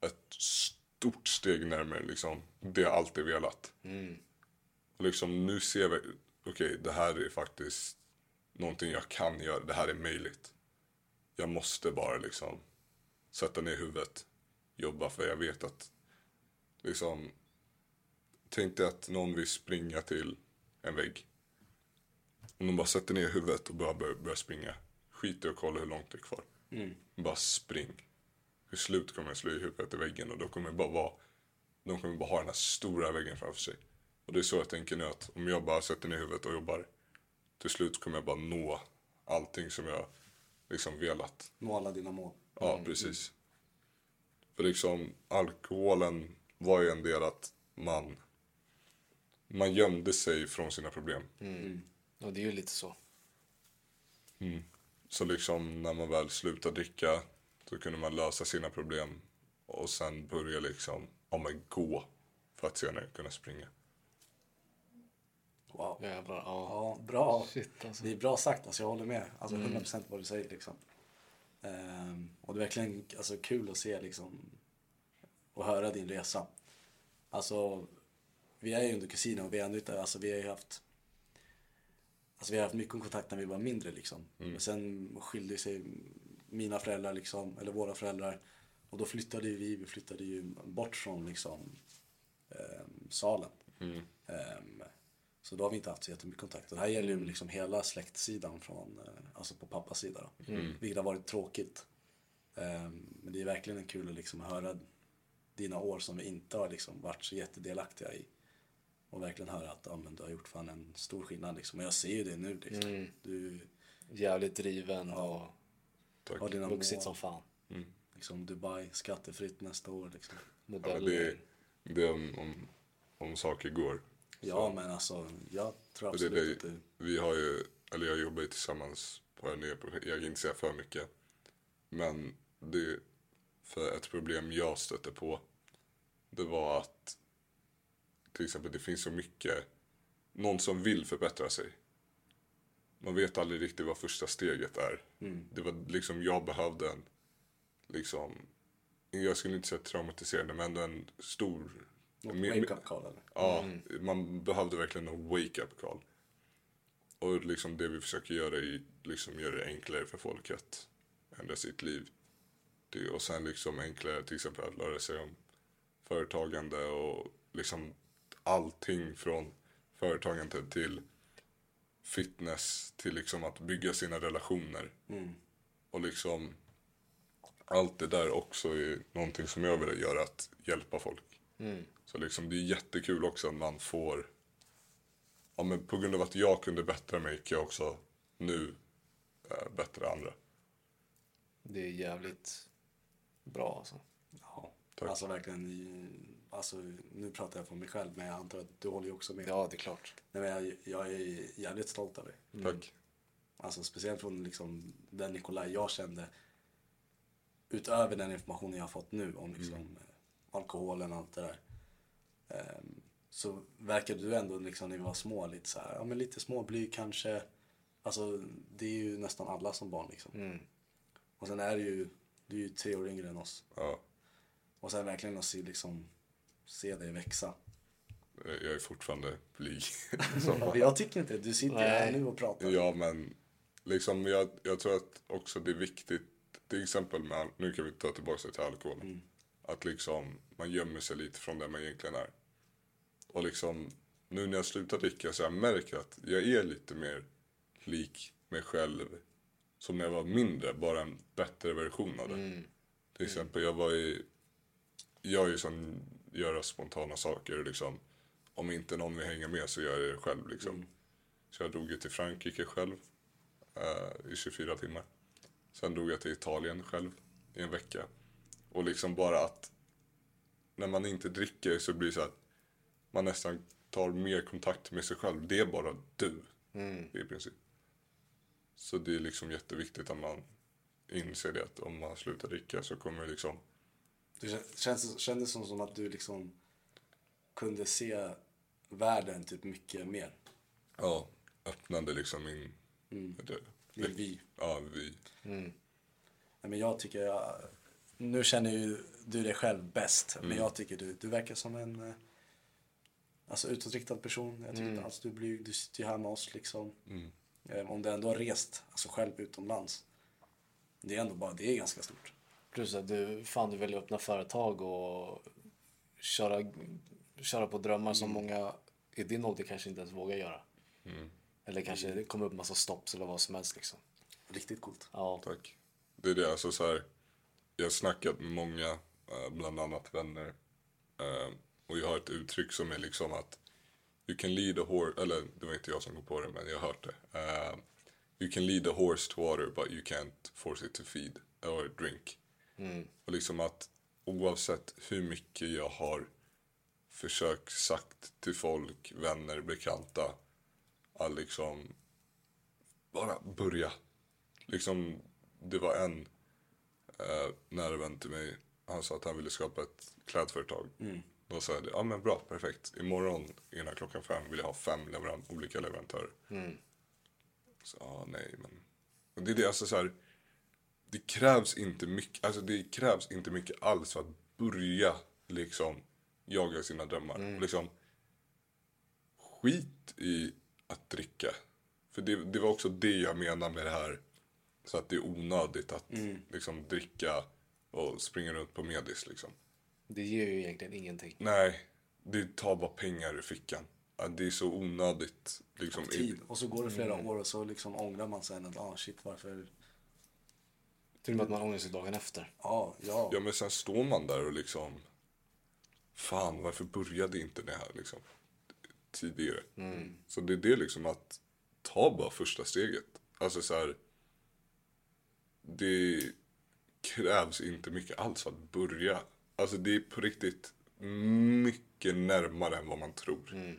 ett stort steg närmare liksom, det jag alltid velat. Och liksom nu ser vi, okej det här är faktiskt någonting jag kan göra, det här är möjligt. Jag måste bara liksom sätta ner huvudet, jobba för jag vet att liksom, tänk dig att någon vill springa till en vägg. Om de bara sätter ner huvudet och bara bör- börjar springa, skit i att kolla hur långt det är kvar. Bara spring. Till slut kommer jag slå i huvudet i väggen och då kommer jag bara vara, de kommer bara ha den här stora väggen framför sig. Och det är så jag tänker nu att om jag bara sätter ner huvudet och jobbar till slut kommer jag bara nå allting som jag liksom velat.
Nå alla dina mål.
Ja, precis. För liksom alkoholen var ju en del att man man gömde sig från sina problem.
Och det är ju lite så.
Så liksom när man väl slutade dricka så kunde man lösa sina problem och sen börja liksom, ja men gå för att senare kunna springa.
Wow.
Jävlar, ja.
Ja, bra.
Shit, alltså. Mm.
Det är bra sagt, alltså, jag håller med. Alltså 100% vad du säger liksom. Ehm, och det är verkligen alltså, kul att se liksom och höra din resa. Alltså, vi är ju under kusiner och vi är ändå inte, alltså vi har ju haft Alltså vi har haft mycket kontakt när vi var mindre liksom.
Mm.
Men sen skilde sig mina föräldrar liksom, eller våra föräldrar. Och då flyttade ju vi, vi flyttade ju bort från liksom ehm, salen.
Mm.
Ehm, så då har vi inte haft så jättemycket kontakt. Och det här gäller ju liksom hela släktsidan från, eh, alltså på pappas sida då.
Mm.
Vilket har varit tråkigt. Ehm, men det är verkligen kul att liksom höra dina år som vi inte har liksom varit så jättedelaktiga i. Och verkligen höra att ja, men du har gjort fan en stor skillnad liksom. Och jag ser ju det nu liksom.
Mm.
Du
Jävligt driven och
Tack.
har dina mål.
vuxit som fan.
Liksom Dubai, skattefritt nästa år liksom.
Ja, men
Modell.
det, är- det är om, om, om saker går.
Ja men alltså jag tror
Och det är
absolut att
det,
du...
vi har ju, eller jag jobbar ju tillsammans på det här nya projektet. Jag kan inte säga för mycket. Men det, för ett problem jag stötte på, det var att till exempel det finns så mycket, någon som vill förbättra sig. Man vet aldrig riktigt vad första steget är. Det var liksom, jag behövde en, liksom, jag skulle inte säga traumatiserande, men ändå en stor... me- me-
Wake-up call eller?
Ja, man behövde verkligen en wake-up call. Och liksom det vi försöker göra är liksom göra det enklare för folk att ändra sitt liv. Det, och sen liksom enklare till exempel att lära sig om företagande och liksom allting från företagande till fitness till liksom att bygga sina relationer. Och liksom allt det där också är någonting som jag vill göra, att hjälpa folk. Så liksom det är jättekul också att man får... Ja, men på grund av att jag kunde bättra mig kan jag också nu eh, bättra andra.
Det är jävligt bra alltså.
Ja.
Tack.
Alltså verkligen, i- alltså nu pratar jag för mig själv men jag antar att du håller ju också med.
Ja, det är klart.
Nej, men jag, jag är jävligt stolt över dig.
Tack.
Alltså speciellt från liksom den Nikolaj jag kände. Utöver den informationen jag har fått nu om liksom eh, alkoholen och allt det där. Ehm, så verkar du ändå liksom när vi var små lite så här, ja men lite småblyg kanske. Alltså det är ju nästan alla som barn
Mm.
liksom. Och sen är det ju, du är ju tre år yngre än oss.
Ja,
Och sen verkligen att se liksom, se dig växa.
eh, jag är fortfarande blyg.
Ja, men jag tycker inte det. Du sitter ju här
Nej.
nu och pratar.
ja, men liksom jag, jag tror att också det är viktigt, till exempel med, al- nu kan vi ta tillbaka det till alkoholen. Att liksom man gömmer sig lite från där man egentligen är. Och liksom nu när jag slutar dricka så har jag märkt att jag är lite mer lik mig själv som när jag var mindre, bara en bättre version av det. Till exempel, jag var i... Jag är ju sån, göra spontana saker liksom. Om inte någon vill hänga med så gör jag det själv liksom. Så jag drog ju till Frankrike själv eh, i 24 timmar. Sen drog jag till Italien själv i en vecka. Och liksom bara att när man inte dricker så blir det så att man nästan tar mer kontakt med sig själv. Det är bara du i princip. Så det är liksom jätteviktigt att man inser det att om man slutar dricka så kommer det liksom...
Det kän- känns, kändes som, som att du liksom kunde se världen typ mycket mer.
Ja. Öppnade liksom min... Det,
Din vy.
Ja, vi.
Nej, Men jag tycker, jag, nu känner ju du dig själv bäst, men jag tycker du, du verkar som en eh, alltså, utåtriktad person. Jag tycker inte alls du är blyg, du sitter ju här med oss liksom. Eh, Om du ändå har rest, alltså själv utomlands. Det är ändå bara, det är ganska stort.
Plus att du, fan du vill öppna företag och köra, köra på drömmar som många i din ålder kanske inte ens vågar göra. Eller kanske det kommer upp massa stopps eller vad som helst liksom.
Riktigt coolt.
Ja,
Tack. Det är det, alltså så här. Jag har snackat med många, eh, bland annat vänner. eh, Och jag har ett uttryck som är liksom att You can lead a horse, eller det var inte jag som kom på det men jag har hört det. Eh, you can lead a horse to water but you can't force it to feed or drink. Och liksom att oavsett hur mycket jag har försökt sagt till folk, vänner, bekanta att liksom bara börja. Liksom, det var en eh, nära vän till mig. Han sa att han ville skapa ett klädföretag. Då sa jag det. Ja men bra, perfekt. Imorgon innan klockan fem vill jag ha fem leveran- olika leverantörer. Så ja, nej men. Och det är det, alltså så här. Det krävs inte mycket, alltså det krävs inte mycket alls för att börja liksom jaga sina drömmar. Och Liksom, skit i att dricka. För det, det var också det jag menar med det här. Så att det är onödigt att liksom dricka och springa runt på medis liksom.
Det ger ju egentligen ingenting.
Nej, det tar bara pengar ur fickan. Ja, Det är så onödigt. Liksom,
tid. Och så går det flera år och så liksom ångrar man sig. att, Ah, shit, varför?
Till och med att man ångrar sig dagen efter.
Ja, ja.
Ja men sen står man där och liksom Fan varför började inte det här liksom Tidigare Så det är det liksom att Ta bara första steget Alltså så här. Det krävs inte mycket alls för att börja Alltså det är på riktigt Mycket närmare än vad man tror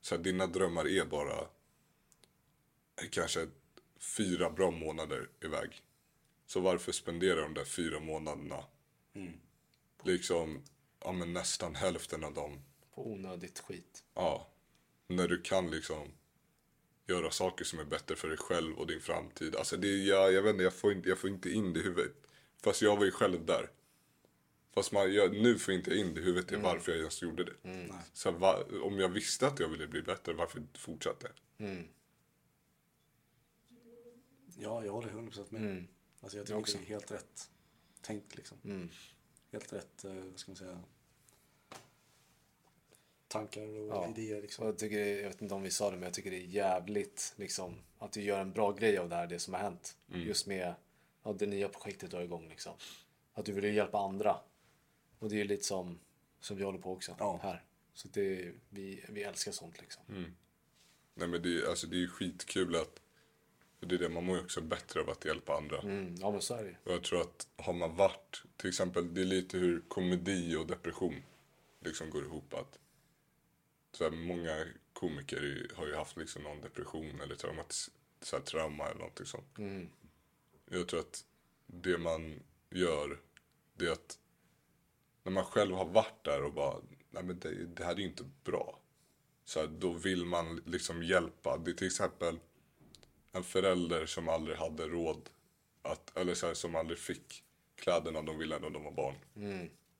Så här, dina drömmar är bara Kanske fyra bra månader iväg så varför spendera de där fyra månaderna? Liksom, ja men nästan hälften av dem.
På onödigt skit.
Ja. När du kan liksom göra saker som är bättre för dig själv och din framtid. Alltså det, jag, jag vet inte, jag får inte, jag får inte in det i huvudet. Fast jag var ju själv där. Fast man, jag, nu får jag inte in det i huvudet mm. varför jag ens gjorde det. Så här, va, om jag visste att jag ville bli bättre, varför fortsatte jag?
Mm.
Ja, jag håller 100% med.
Mm.
Alltså jag tycker det är helt rätt tänkt liksom. Helt rätt, eh, vad ska man säga, tankar och
Ja.
idéer
Och
liksom.
jag, tycker, det- jag vet inte om vi sa det, men jag tycker det är jävligt liksom, att du gör en bra grej av det här, det som har hänt. Just med ja, det nya projektet du har igång. Liksom. Att du vill ju hjälpa andra. Och det är ju lite som, som vi håller på också
Ja.
här. Så det, vi, vi älskar sånt liksom.
Nej men det, är- alltså det är ju skitkul att... För det är det, man mår ju också bättre av att hjälpa andra.
Mm, ja men så är det ju.
Och jag tror att har man varit, till exempel, det är lite hur komedi och depression liksom går ihop. Att, så här, många komiker i- har ju haft liksom någon depression eller traumatis- så här, trauma eller någonting sånt. Jag tror att det man gör, det är att när man själv har varit där och bara, nej men det, det här är ju inte bra. Så här, då vill man liksom hjälpa. Det är till exempel en förälder som aldrig hade råd att, eller så här, som aldrig fick kläderna de ville när de var barn.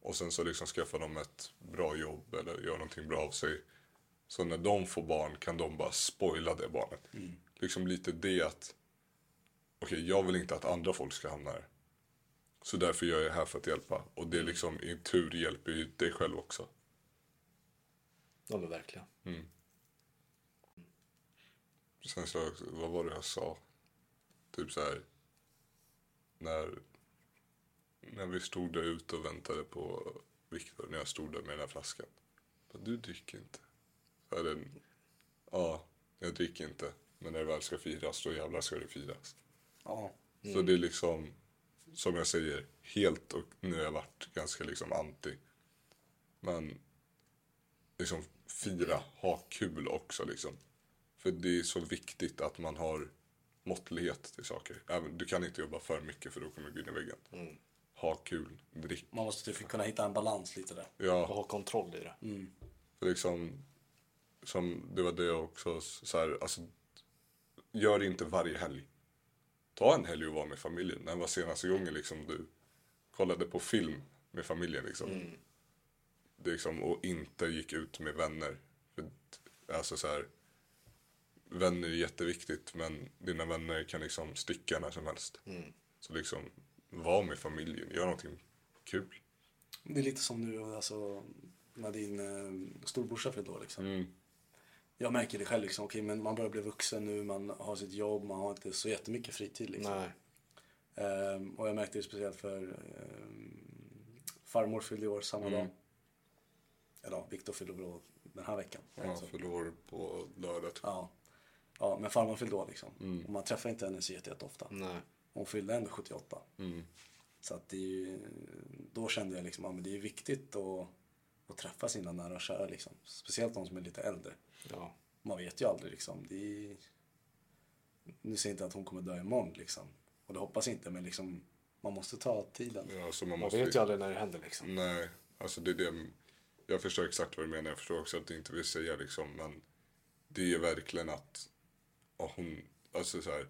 Och sen så liksom skaffar de ett bra jobb eller gör någonting bra av sig. Så när de får barn kan de bara spoila det barnet. Liksom lite det att okej, jag vill inte att andra folk ska hamna här. Så därför gör jag det här för att hjälpa. Och det liksom i tur hjälper ju dig själv också.
Ja men verkligen.
Sen så, vad var det jag sa? Typ så här. När, när vi stod där ute och väntade på Viktor, när jag stod där med den här flaskan. Bara, du dricker inte. Eller, ja, jag dricker inte. Men när det väl ska firas, då jävlar ska det firas.
Ja,
Så det är liksom, som jag säger, helt och nu har jag varit ganska liksom anti. Men liksom fira, ha kul också liksom. För det är så viktigt att man har måttlighet till saker. Även, du kan inte jobba för mycket för då kommer du gå in i väggen. Ha kul, drick.
man måste typ kunna hitta en balans lite där.
Och
Ja,
ha kontroll i det.
för liksom, som det var det jag också, så här, alltså, gör det inte varje helg. ta en helg och vara med familjen. När var senaste gången liksom du kollade på film med familjen? Liksom. Det liksom, och inte gick ut med vänner. För, att- alltså så här, vänner är jätteviktigt men dina vänner kan liksom sticka när som helst. Så liksom, var med familjen, gör någonting kul.
Det är lite som nu alltså, när din eh, storbrorsa fyllde år liksom.
Mm.
Jag märker det själv liksom, okej men man börjar bli vuxen nu, man har sitt jobb, man har inte så jättemycket fritid liksom.
Nej.
Ehm, och jag märkte det speciellt för ehm, farmor fyllde år samma dag. Eller ja, Viktor fyllde år den här veckan.
Ja,
Så,
för då var det på lördag. typ.
ja. ja men farmor fyllde år liksom. Och man träffar inte henne så jätte- jätteofta.
Nej.
Hon fyllde ändå 78. Så att det är ju, då kände jag liksom, ja, men det är viktigt att, att träffa sina nära och kära liksom. Speciellt de som är lite äldre.
Ja.
Man vet ju aldrig liksom. Det är... Nu säger jag inte att hon kommer dö imorgon liksom. Och det hoppas jag inte men liksom man måste ta tiden.
Ja, så man
Man
måste
vet ju aldrig när det händer liksom.
Nej, alltså det är det. Jag förstår exakt vad du menar. Jag förstår också att du inte vill säga liksom, men det är verkligen att ja, hon, alltså så här,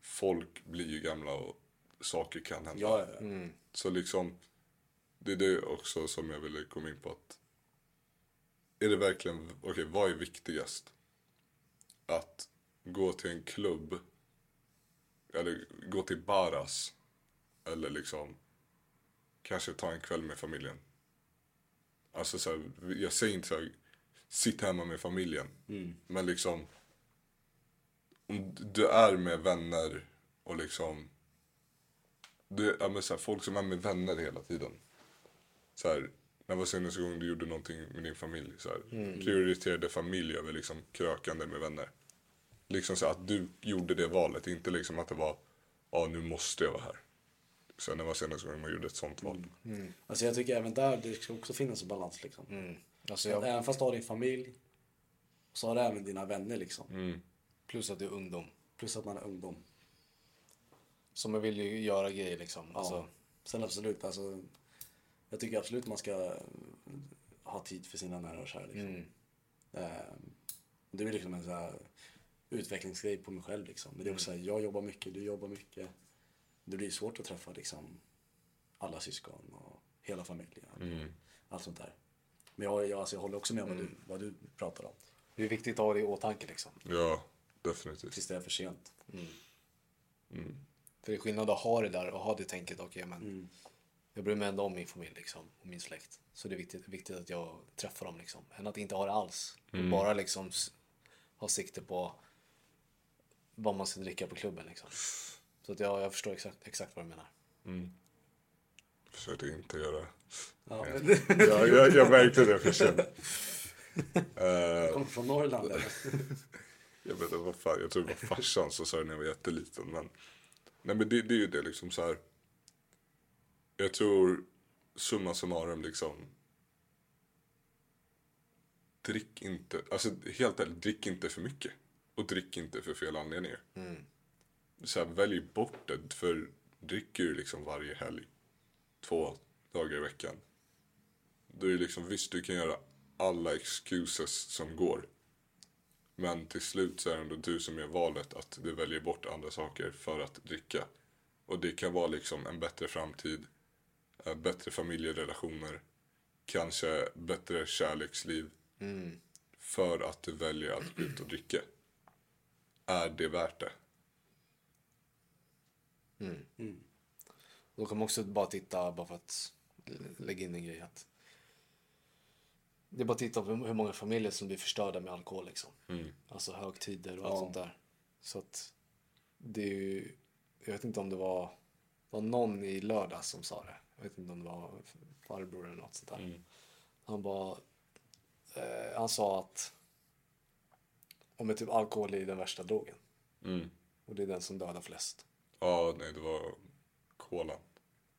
folk blir ju gamla och saker kan hända.
Ja, ja, ja.
Så liksom, det är det också som jag ville komma in på att är det verkligen, okej vad är viktigast? Att gå till en klubb eller gå till Baras eller liksom kanske ta en kväll med familjen. Alltså så här, jag säger inte så här, sitt hemma med familjen. Men liksom, om du är med vänner och liksom det, ja, men så här, folk som är med vänner hela tiden. Så här, när var senaste gången du gjorde någonting med din familj? Så här, Prioriterade familj över liksom, krökande med vänner. Liksom så här, att du gjorde det valet, inte liksom att det var ja nu måste jag vara här. Sen när var senaste gången man gjorde ett sånt val?
Alltså jag tycker även där det ska också finnas en balans liksom.
Alltså
Att
jag,
Även fast du har din familj så har du även dina vänner liksom.
plus att det är ungdom.
Plus att man är ungdom.
Så man vill ju göra grejer liksom. Alltså,
Alltså, sen absolut, alltså, jag tycker absolut man ska eh, ha tid för sina nära och kära. Liksom. Eh, det är liksom en så här utvecklingsgrej på mig själv. Liksom. Men det är också så här, jag jobbar mycket, du jobbar mycket. Det blir svårt att träffa liksom, alla syskon och hela familjen. Allt sånt där. Men jag, jag, alltså, jag håller också med om vad, du, vad du pratar om.
det är viktigt att ha det i åtanke liksom.
Ja, definitivt.
Tills det är för sent.
För det är skillnad att ha det där och ha det tänket. Okej, men jag bryr mig ändå om min familj liksom. Och min släkt. Så det är viktigt, viktigt att jag träffar dem liksom. Än att inte ha det alls. Bara liksom s- ha sikte på vad man ska dricka på klubben liksom. Så att jag, jag förstår exakt, exakt vad du menar.
Försökte inte göra.
Ja,
Ja.
men det
Jag, jag, jag märkte det för sent. Eh,
kommer från Norrland. eller?
Jag vet inte vad fan, jag tror det var farsan som sa det när jag var jätteliten. Men, nej men det, det är ju det liksom så här. Jag tror summa summarum liksom. Drick inte, alltså helt ärligt, drick inte för mycket. Och drick inte för fel anledningar. Så här, välj bort det, för dricker du liksom varje helg, två dagar i veckan. Då är det liksom, visst du kan göra alla excuses som går. Men till slut så är det ändå du som gör valet att du väljer bort andra saker för att dricka. Och det kan vara liksom en bättre framtid, eh, bättre familjerelationer, kanske bättre kärleksliv. För att du väljer att gå ut och dricka. Är det värt det?
Då kan man också bara titta, bara för att lä- lägga in en grej att det är bara att titta på hur många familjer som blir förstörda med alkohol liksom. Alltså högtider och allt
Ja.
sånt där. Så att det är ju, jag vet inte om det var, det var någon i lördag som sa det. Jag vet inte om det var farbror eller något sånt där. Han bara, eh, han sa att om är typ alkohol är den värsta drogen. Och det är den som dödar flest.
Ja, nej det var kolan.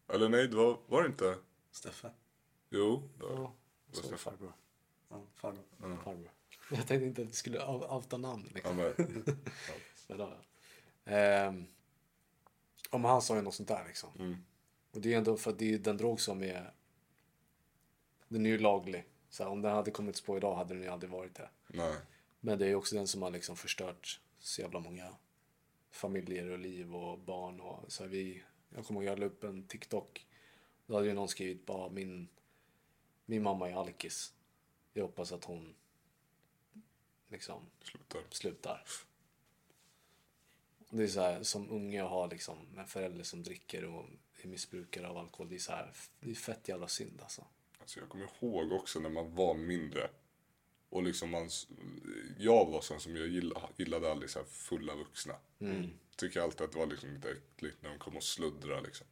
Eller nej, det var, var det inte?
Steffe?
Jo, det var det.
Ja, så är det farbror.
Ja, farbror.
farbror. Jag tänkte inte att du skulle out- outa namn.
Ja,
Liksom.
men,
Men, ja. Ehm, om han sa ju något sånt där liksom. Och det är ändå för att det är den drog som är. Den är ju laglig. Så här, om den hade kommits på idag hade den ju aldrig varit det.
nej.
Men det är ju också den som har liksom förstört så jävla många familjer och liv och barn och så här, vi. Jag kommer ihåg jag la upp en TikTok. Då hade ju någon skrivit bara min, min mamma är alkis. Jag hoppas att hon liksom
Slutar.
slutar. Det är så här, som unge att ha liksom en förälder som dricker och är missbrukare av alkohol. Det är så här, det är fett jävla synd alltså.
Alltså jag kommer ihåg också när man var mindre. Och liksom man, jag var sån som jag gillade, gillade aldrig så här fulla vuxna. Tycker alltid att det var liksom lite äckligt när de kom och sluddrade. Liksom.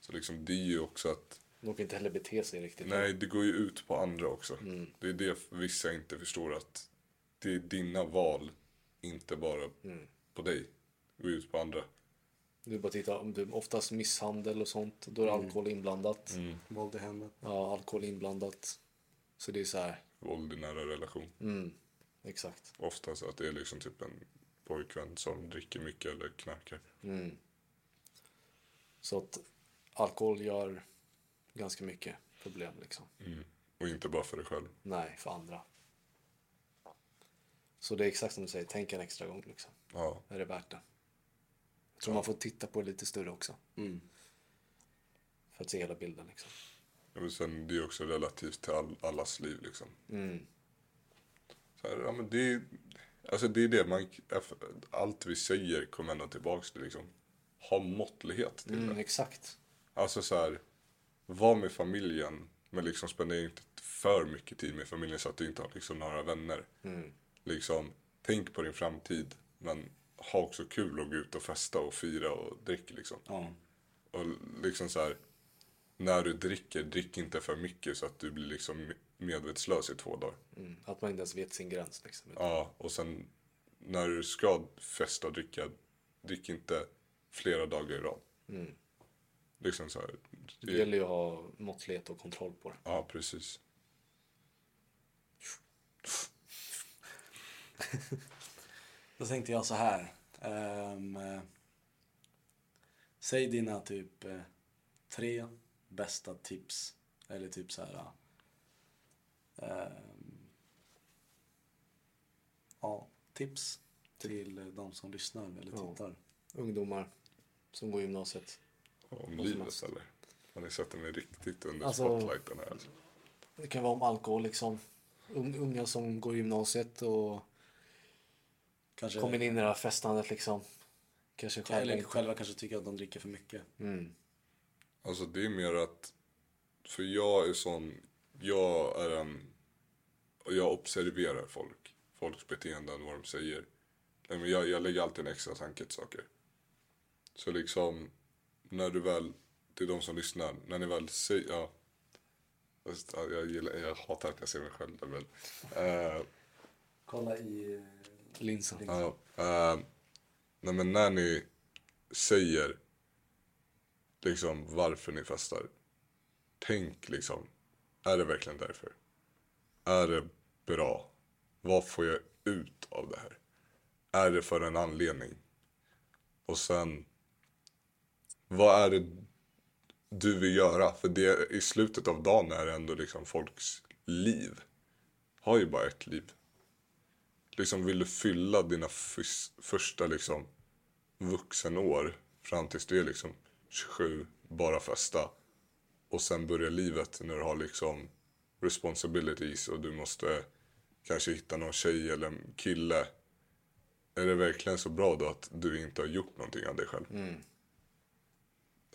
Så liksom det är ju också att
De kan inte heller bete sig riktigt.
Nej, det går ju ut på andra också. Det är det vissa inte förstår att det är dina val, inte bara på dig. Det går ut på andra.
Du bara titta, om du oftast misshandel och sånt, då är alkohol inblandat.
Våld i hemmet.
Ja, alkohol inblandat. Så det är så här,
Våld i nära relation.
Mm. exakt.
Oftast att det är liksom typ en pojkvän som dricker mycket eller knarkar.
Så att alkohol gör ganska mycket problem liksom.
Och inte bara för dig själv.
Nej, för andra. Så det är exakt som du säger, tänk en extra gång liksom.
Ja.
Är det värt det? Jag tror man får titta på det lite större också. För att se hela bilden liksom.
Men sen det är också relativt till all, allas liv liksom. Så här, ja, men det, är- alltså det är det man, allt vi säger kommer ändå tillbaks till liksom. Ha måttlighet till
Mm,
det.
exakt.
Alltså så här, var med familjen men liksom spendera inte för mycket tid med familjen så att du inte har liksom några vänner. Liksom, tänk på din framtid men ha också kul och gå ut och festa och fira och drick liksom.
Ja.
Och liksom så här, när du dricker, drick inte för mycket så att du blir liksom medvetslös i två dagar.
Mm. Att man inte ens vet sin gräns liksom.
Ja, och sen när du ska festa och dricka, drick inte flera dagar i rad. Liksom så här.
Det gäller ju att ha måttlighet och kontroll på det.
Ja, precis.
Då tänkte jag så här. ehm, eh, säg dina typ eh, tre bästa tips. Eller typ så här. ehm, ja, tips till eh, de som lyssnar eller
Ja.
tittar.
Ungdomar som går gymnasiet.
Om
som
livet
helst.
eller? Har ni sett mig riktigt under
Alltså-
spotlighten här? alltså?
Det kan vara om alkohol liksom. Un- Unga som går gymnasiet och
Kanske,
kommer in i det här festandet liksom. Kanske själva
eller
inte.
själva kanske tycker att de dricker för mycket.
Mm.
Alltså det är mer att, för jag är sån, jag är en, och jag observerar folk, folks beteenden, vad de säger. Nej, men jag, jag lägger alltid en extra tanke till saker. Så liksom, när du väl, till de som lyssnar, när ni väl säger, ja, Fast, ja, jag, gillar, jag hatar att jag ser mig själv där, men. eh,
Kolla i... eh,
Linsen.
Ja, eh, nej men när ni säger liksom varför ni festar. Tänk liksom, är det verkligen därför? Är det bra? Vad får jag ut av det här? Är det för en anledning? Och sen, vad är det du vill göra? För det, i slutet av dagen är det ändå liksom folks liv. Har ju bara ett liv liksom vill du fylla dina fys- första liksom vuxenår fram tills du är liksom 27, bara festa och sen börjar livet när du har liksom responsibilities och du måste kanske hitta någon tjej eller en kille. Är det verkligen så bra då att du inte har gjort någonting av dig själv?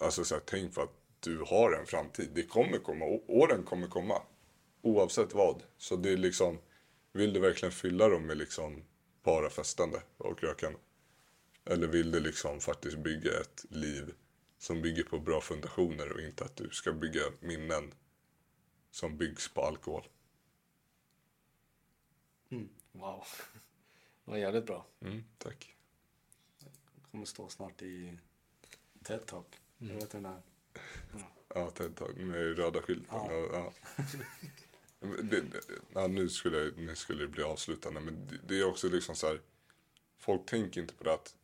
Alltså så här, tänk på att du har en framtid. Det kommer komma. Å- Åren kommer komma. Oavsett vad. Så det är liksom, vill du verkligen fylla dem med liksom bara festande och rökande? Eller vill du liksom faktiskt bygga ett liv som bygger på bra fundationer och inte att du ska bygga minnen som byggs på alkohol?
Wow. Det var jävligt bra.
Mm, tack.
Kommer stå snart i TED Talk.
Mm.
Jag vet den där.
Ja, TED-tag med röda skylten.
Ja.
Ja. Ja. Men det, det- ja, nu, skulle, nu skulle det bli avslutande, men det, det är också liksom så här. Folk tänker inte på det att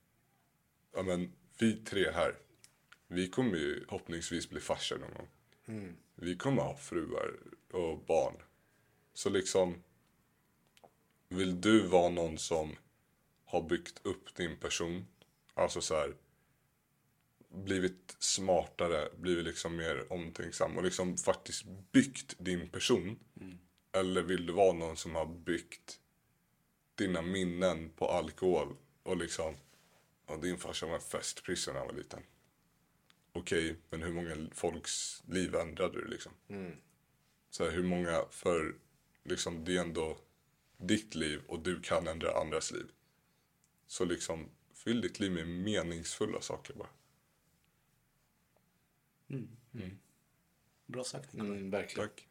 ja, men, vi tre här, vi kommer ju hoppningsvis bli farsor någon gång. Vi kommer ha fruar och barn. Så liksom, vill du vara någon som har byggt upp din person, alltså så här, blivit smartare, blivit liksom mer omtänksam och liksom faktiskt byggt din person? Eller vill du vara någon som har byggt dina minnen på alkohol och liksom, ja din farsa var en festprisse när han var liten. Okej, men hur många folks liv ändrade du liksom? Så här, hur många, för liksom det är ändå ditt liv och du kan ändra andras liv. Så liksom, fyll ditt liv med meningsfulla saker bara.
Bra sagt Nikolaj.
Mm, verkligen.
Tack.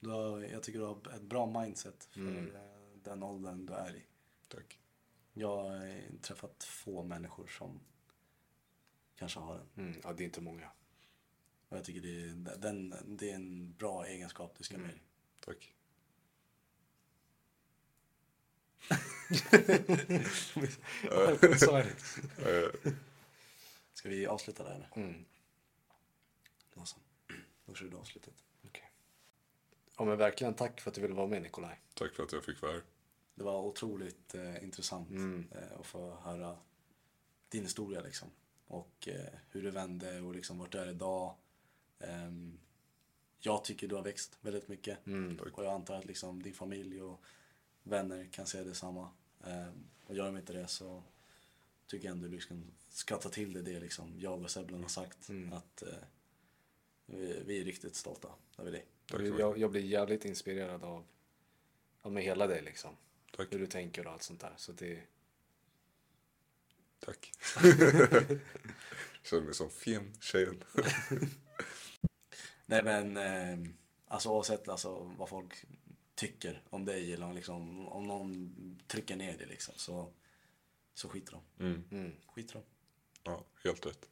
Du har, jag tycker du har ett bra mindset för
Mm.
eh, den åldern du är i.
Tack.
Jag har eh, träffat få människor som kanske har den.
Mm, ja, det är inte många.
Och jag tycker det är, den, det är en bra egenskap du ska med dig.
Tack.
Sorry.
Eh,
Ska vi avsluta där eller?
Mm,
Då så. Då kör du avslutet.
okay. Ja men verkligen tack för att du ville vara med Nikolaj.
tack för att jag fick vara här.
Det var otroligt eh, intressant eh, att få höra din historia liksom. Och eh, hur du vände och liksom vart du är idag. Ehm, jag tycker du har växt väldigt mycket.
Mm.
Tack.
Och jag antar att liksom din familj och vänner kan säga detsamma. Ehm, och gör de inte det så tycker jag ändå du liksom ska ta till dig det liksom jag och Seblen har sagt. Att eh, vi, vi är riktigt stolta över dig.
Tack så mycket.
Jag, jag blir jävligt inspirerad av, av med hela dig liksom.
Tack.
Hur du tänker och allt sånt där. Så det,
Tack. Känner mig som fin-tjejen.
Nej men, eh, alltså oavsett alltså, vad folk tycker om dig eller om, liksom, om någon trycker ner dig liksom så, så skiter de. Skiter de.
Ja, helt rätt.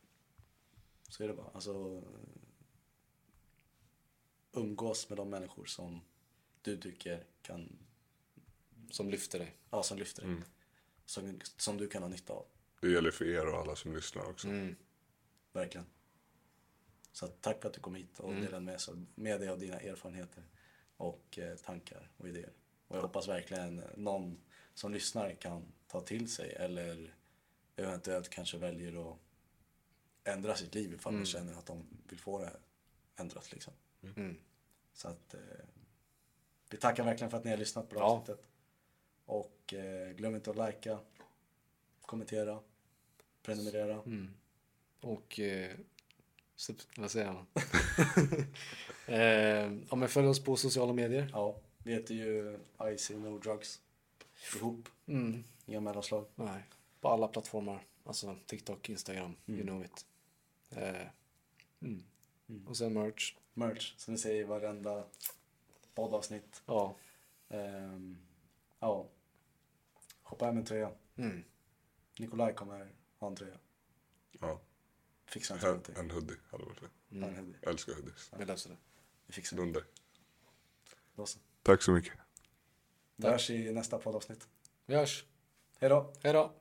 Så är det bara. Alltså, umgås med de människor som du tycker kan,
som lyfter dig.
ja som lyfter dig. Som, som du kan ha nytta av.
Det gäller för er och alla som lyssnar också.
Verkligen. Så att tack för att du kom hit och delade med, sig- med dig av dina erfarenheter och eh, tankar och idéer. Och jag hoppas verkligen någon som lyssnar kan ta till sig eller eventuellt kanske väljer att ändra sitt liv ifall de känner att de vill få det ändrat. Liksom. Så att eh, vi tackar verkligen för att ni har lyssnat på det här
Ja.
avsnittet. Och eh, glöm inte att likea, kommentera, prenumerera.
Och... Eh, sub- vad säger man? eh, ja, men följ oss på sociala medier.
Ja, vi heter ju IC No Drugs ihop.
Mm.
Inga mellanslag.
Nej. På alla plattformar. Alltså TikTok, Instagram, you know it. Eh, mm. Och sen merch.
Merch, som ni säger i varenda poddavsnitt.
Ja.
Ehm, ja. Hoppa hem en tröja.
Mm.
Nikolaj kommer ha en tröja.
Ja.
Fixar inte
En,
någonting.
en hoodie hade varit fint.
Han är huvud.
Jag älskar hoodies.
Vi löser det.
Vi fixar det.
Dunder.
Då så.
Tack så mycket.
Vi hörs i nästa poddavsnitt.
Vi hörs.
Hej då!
Hej då.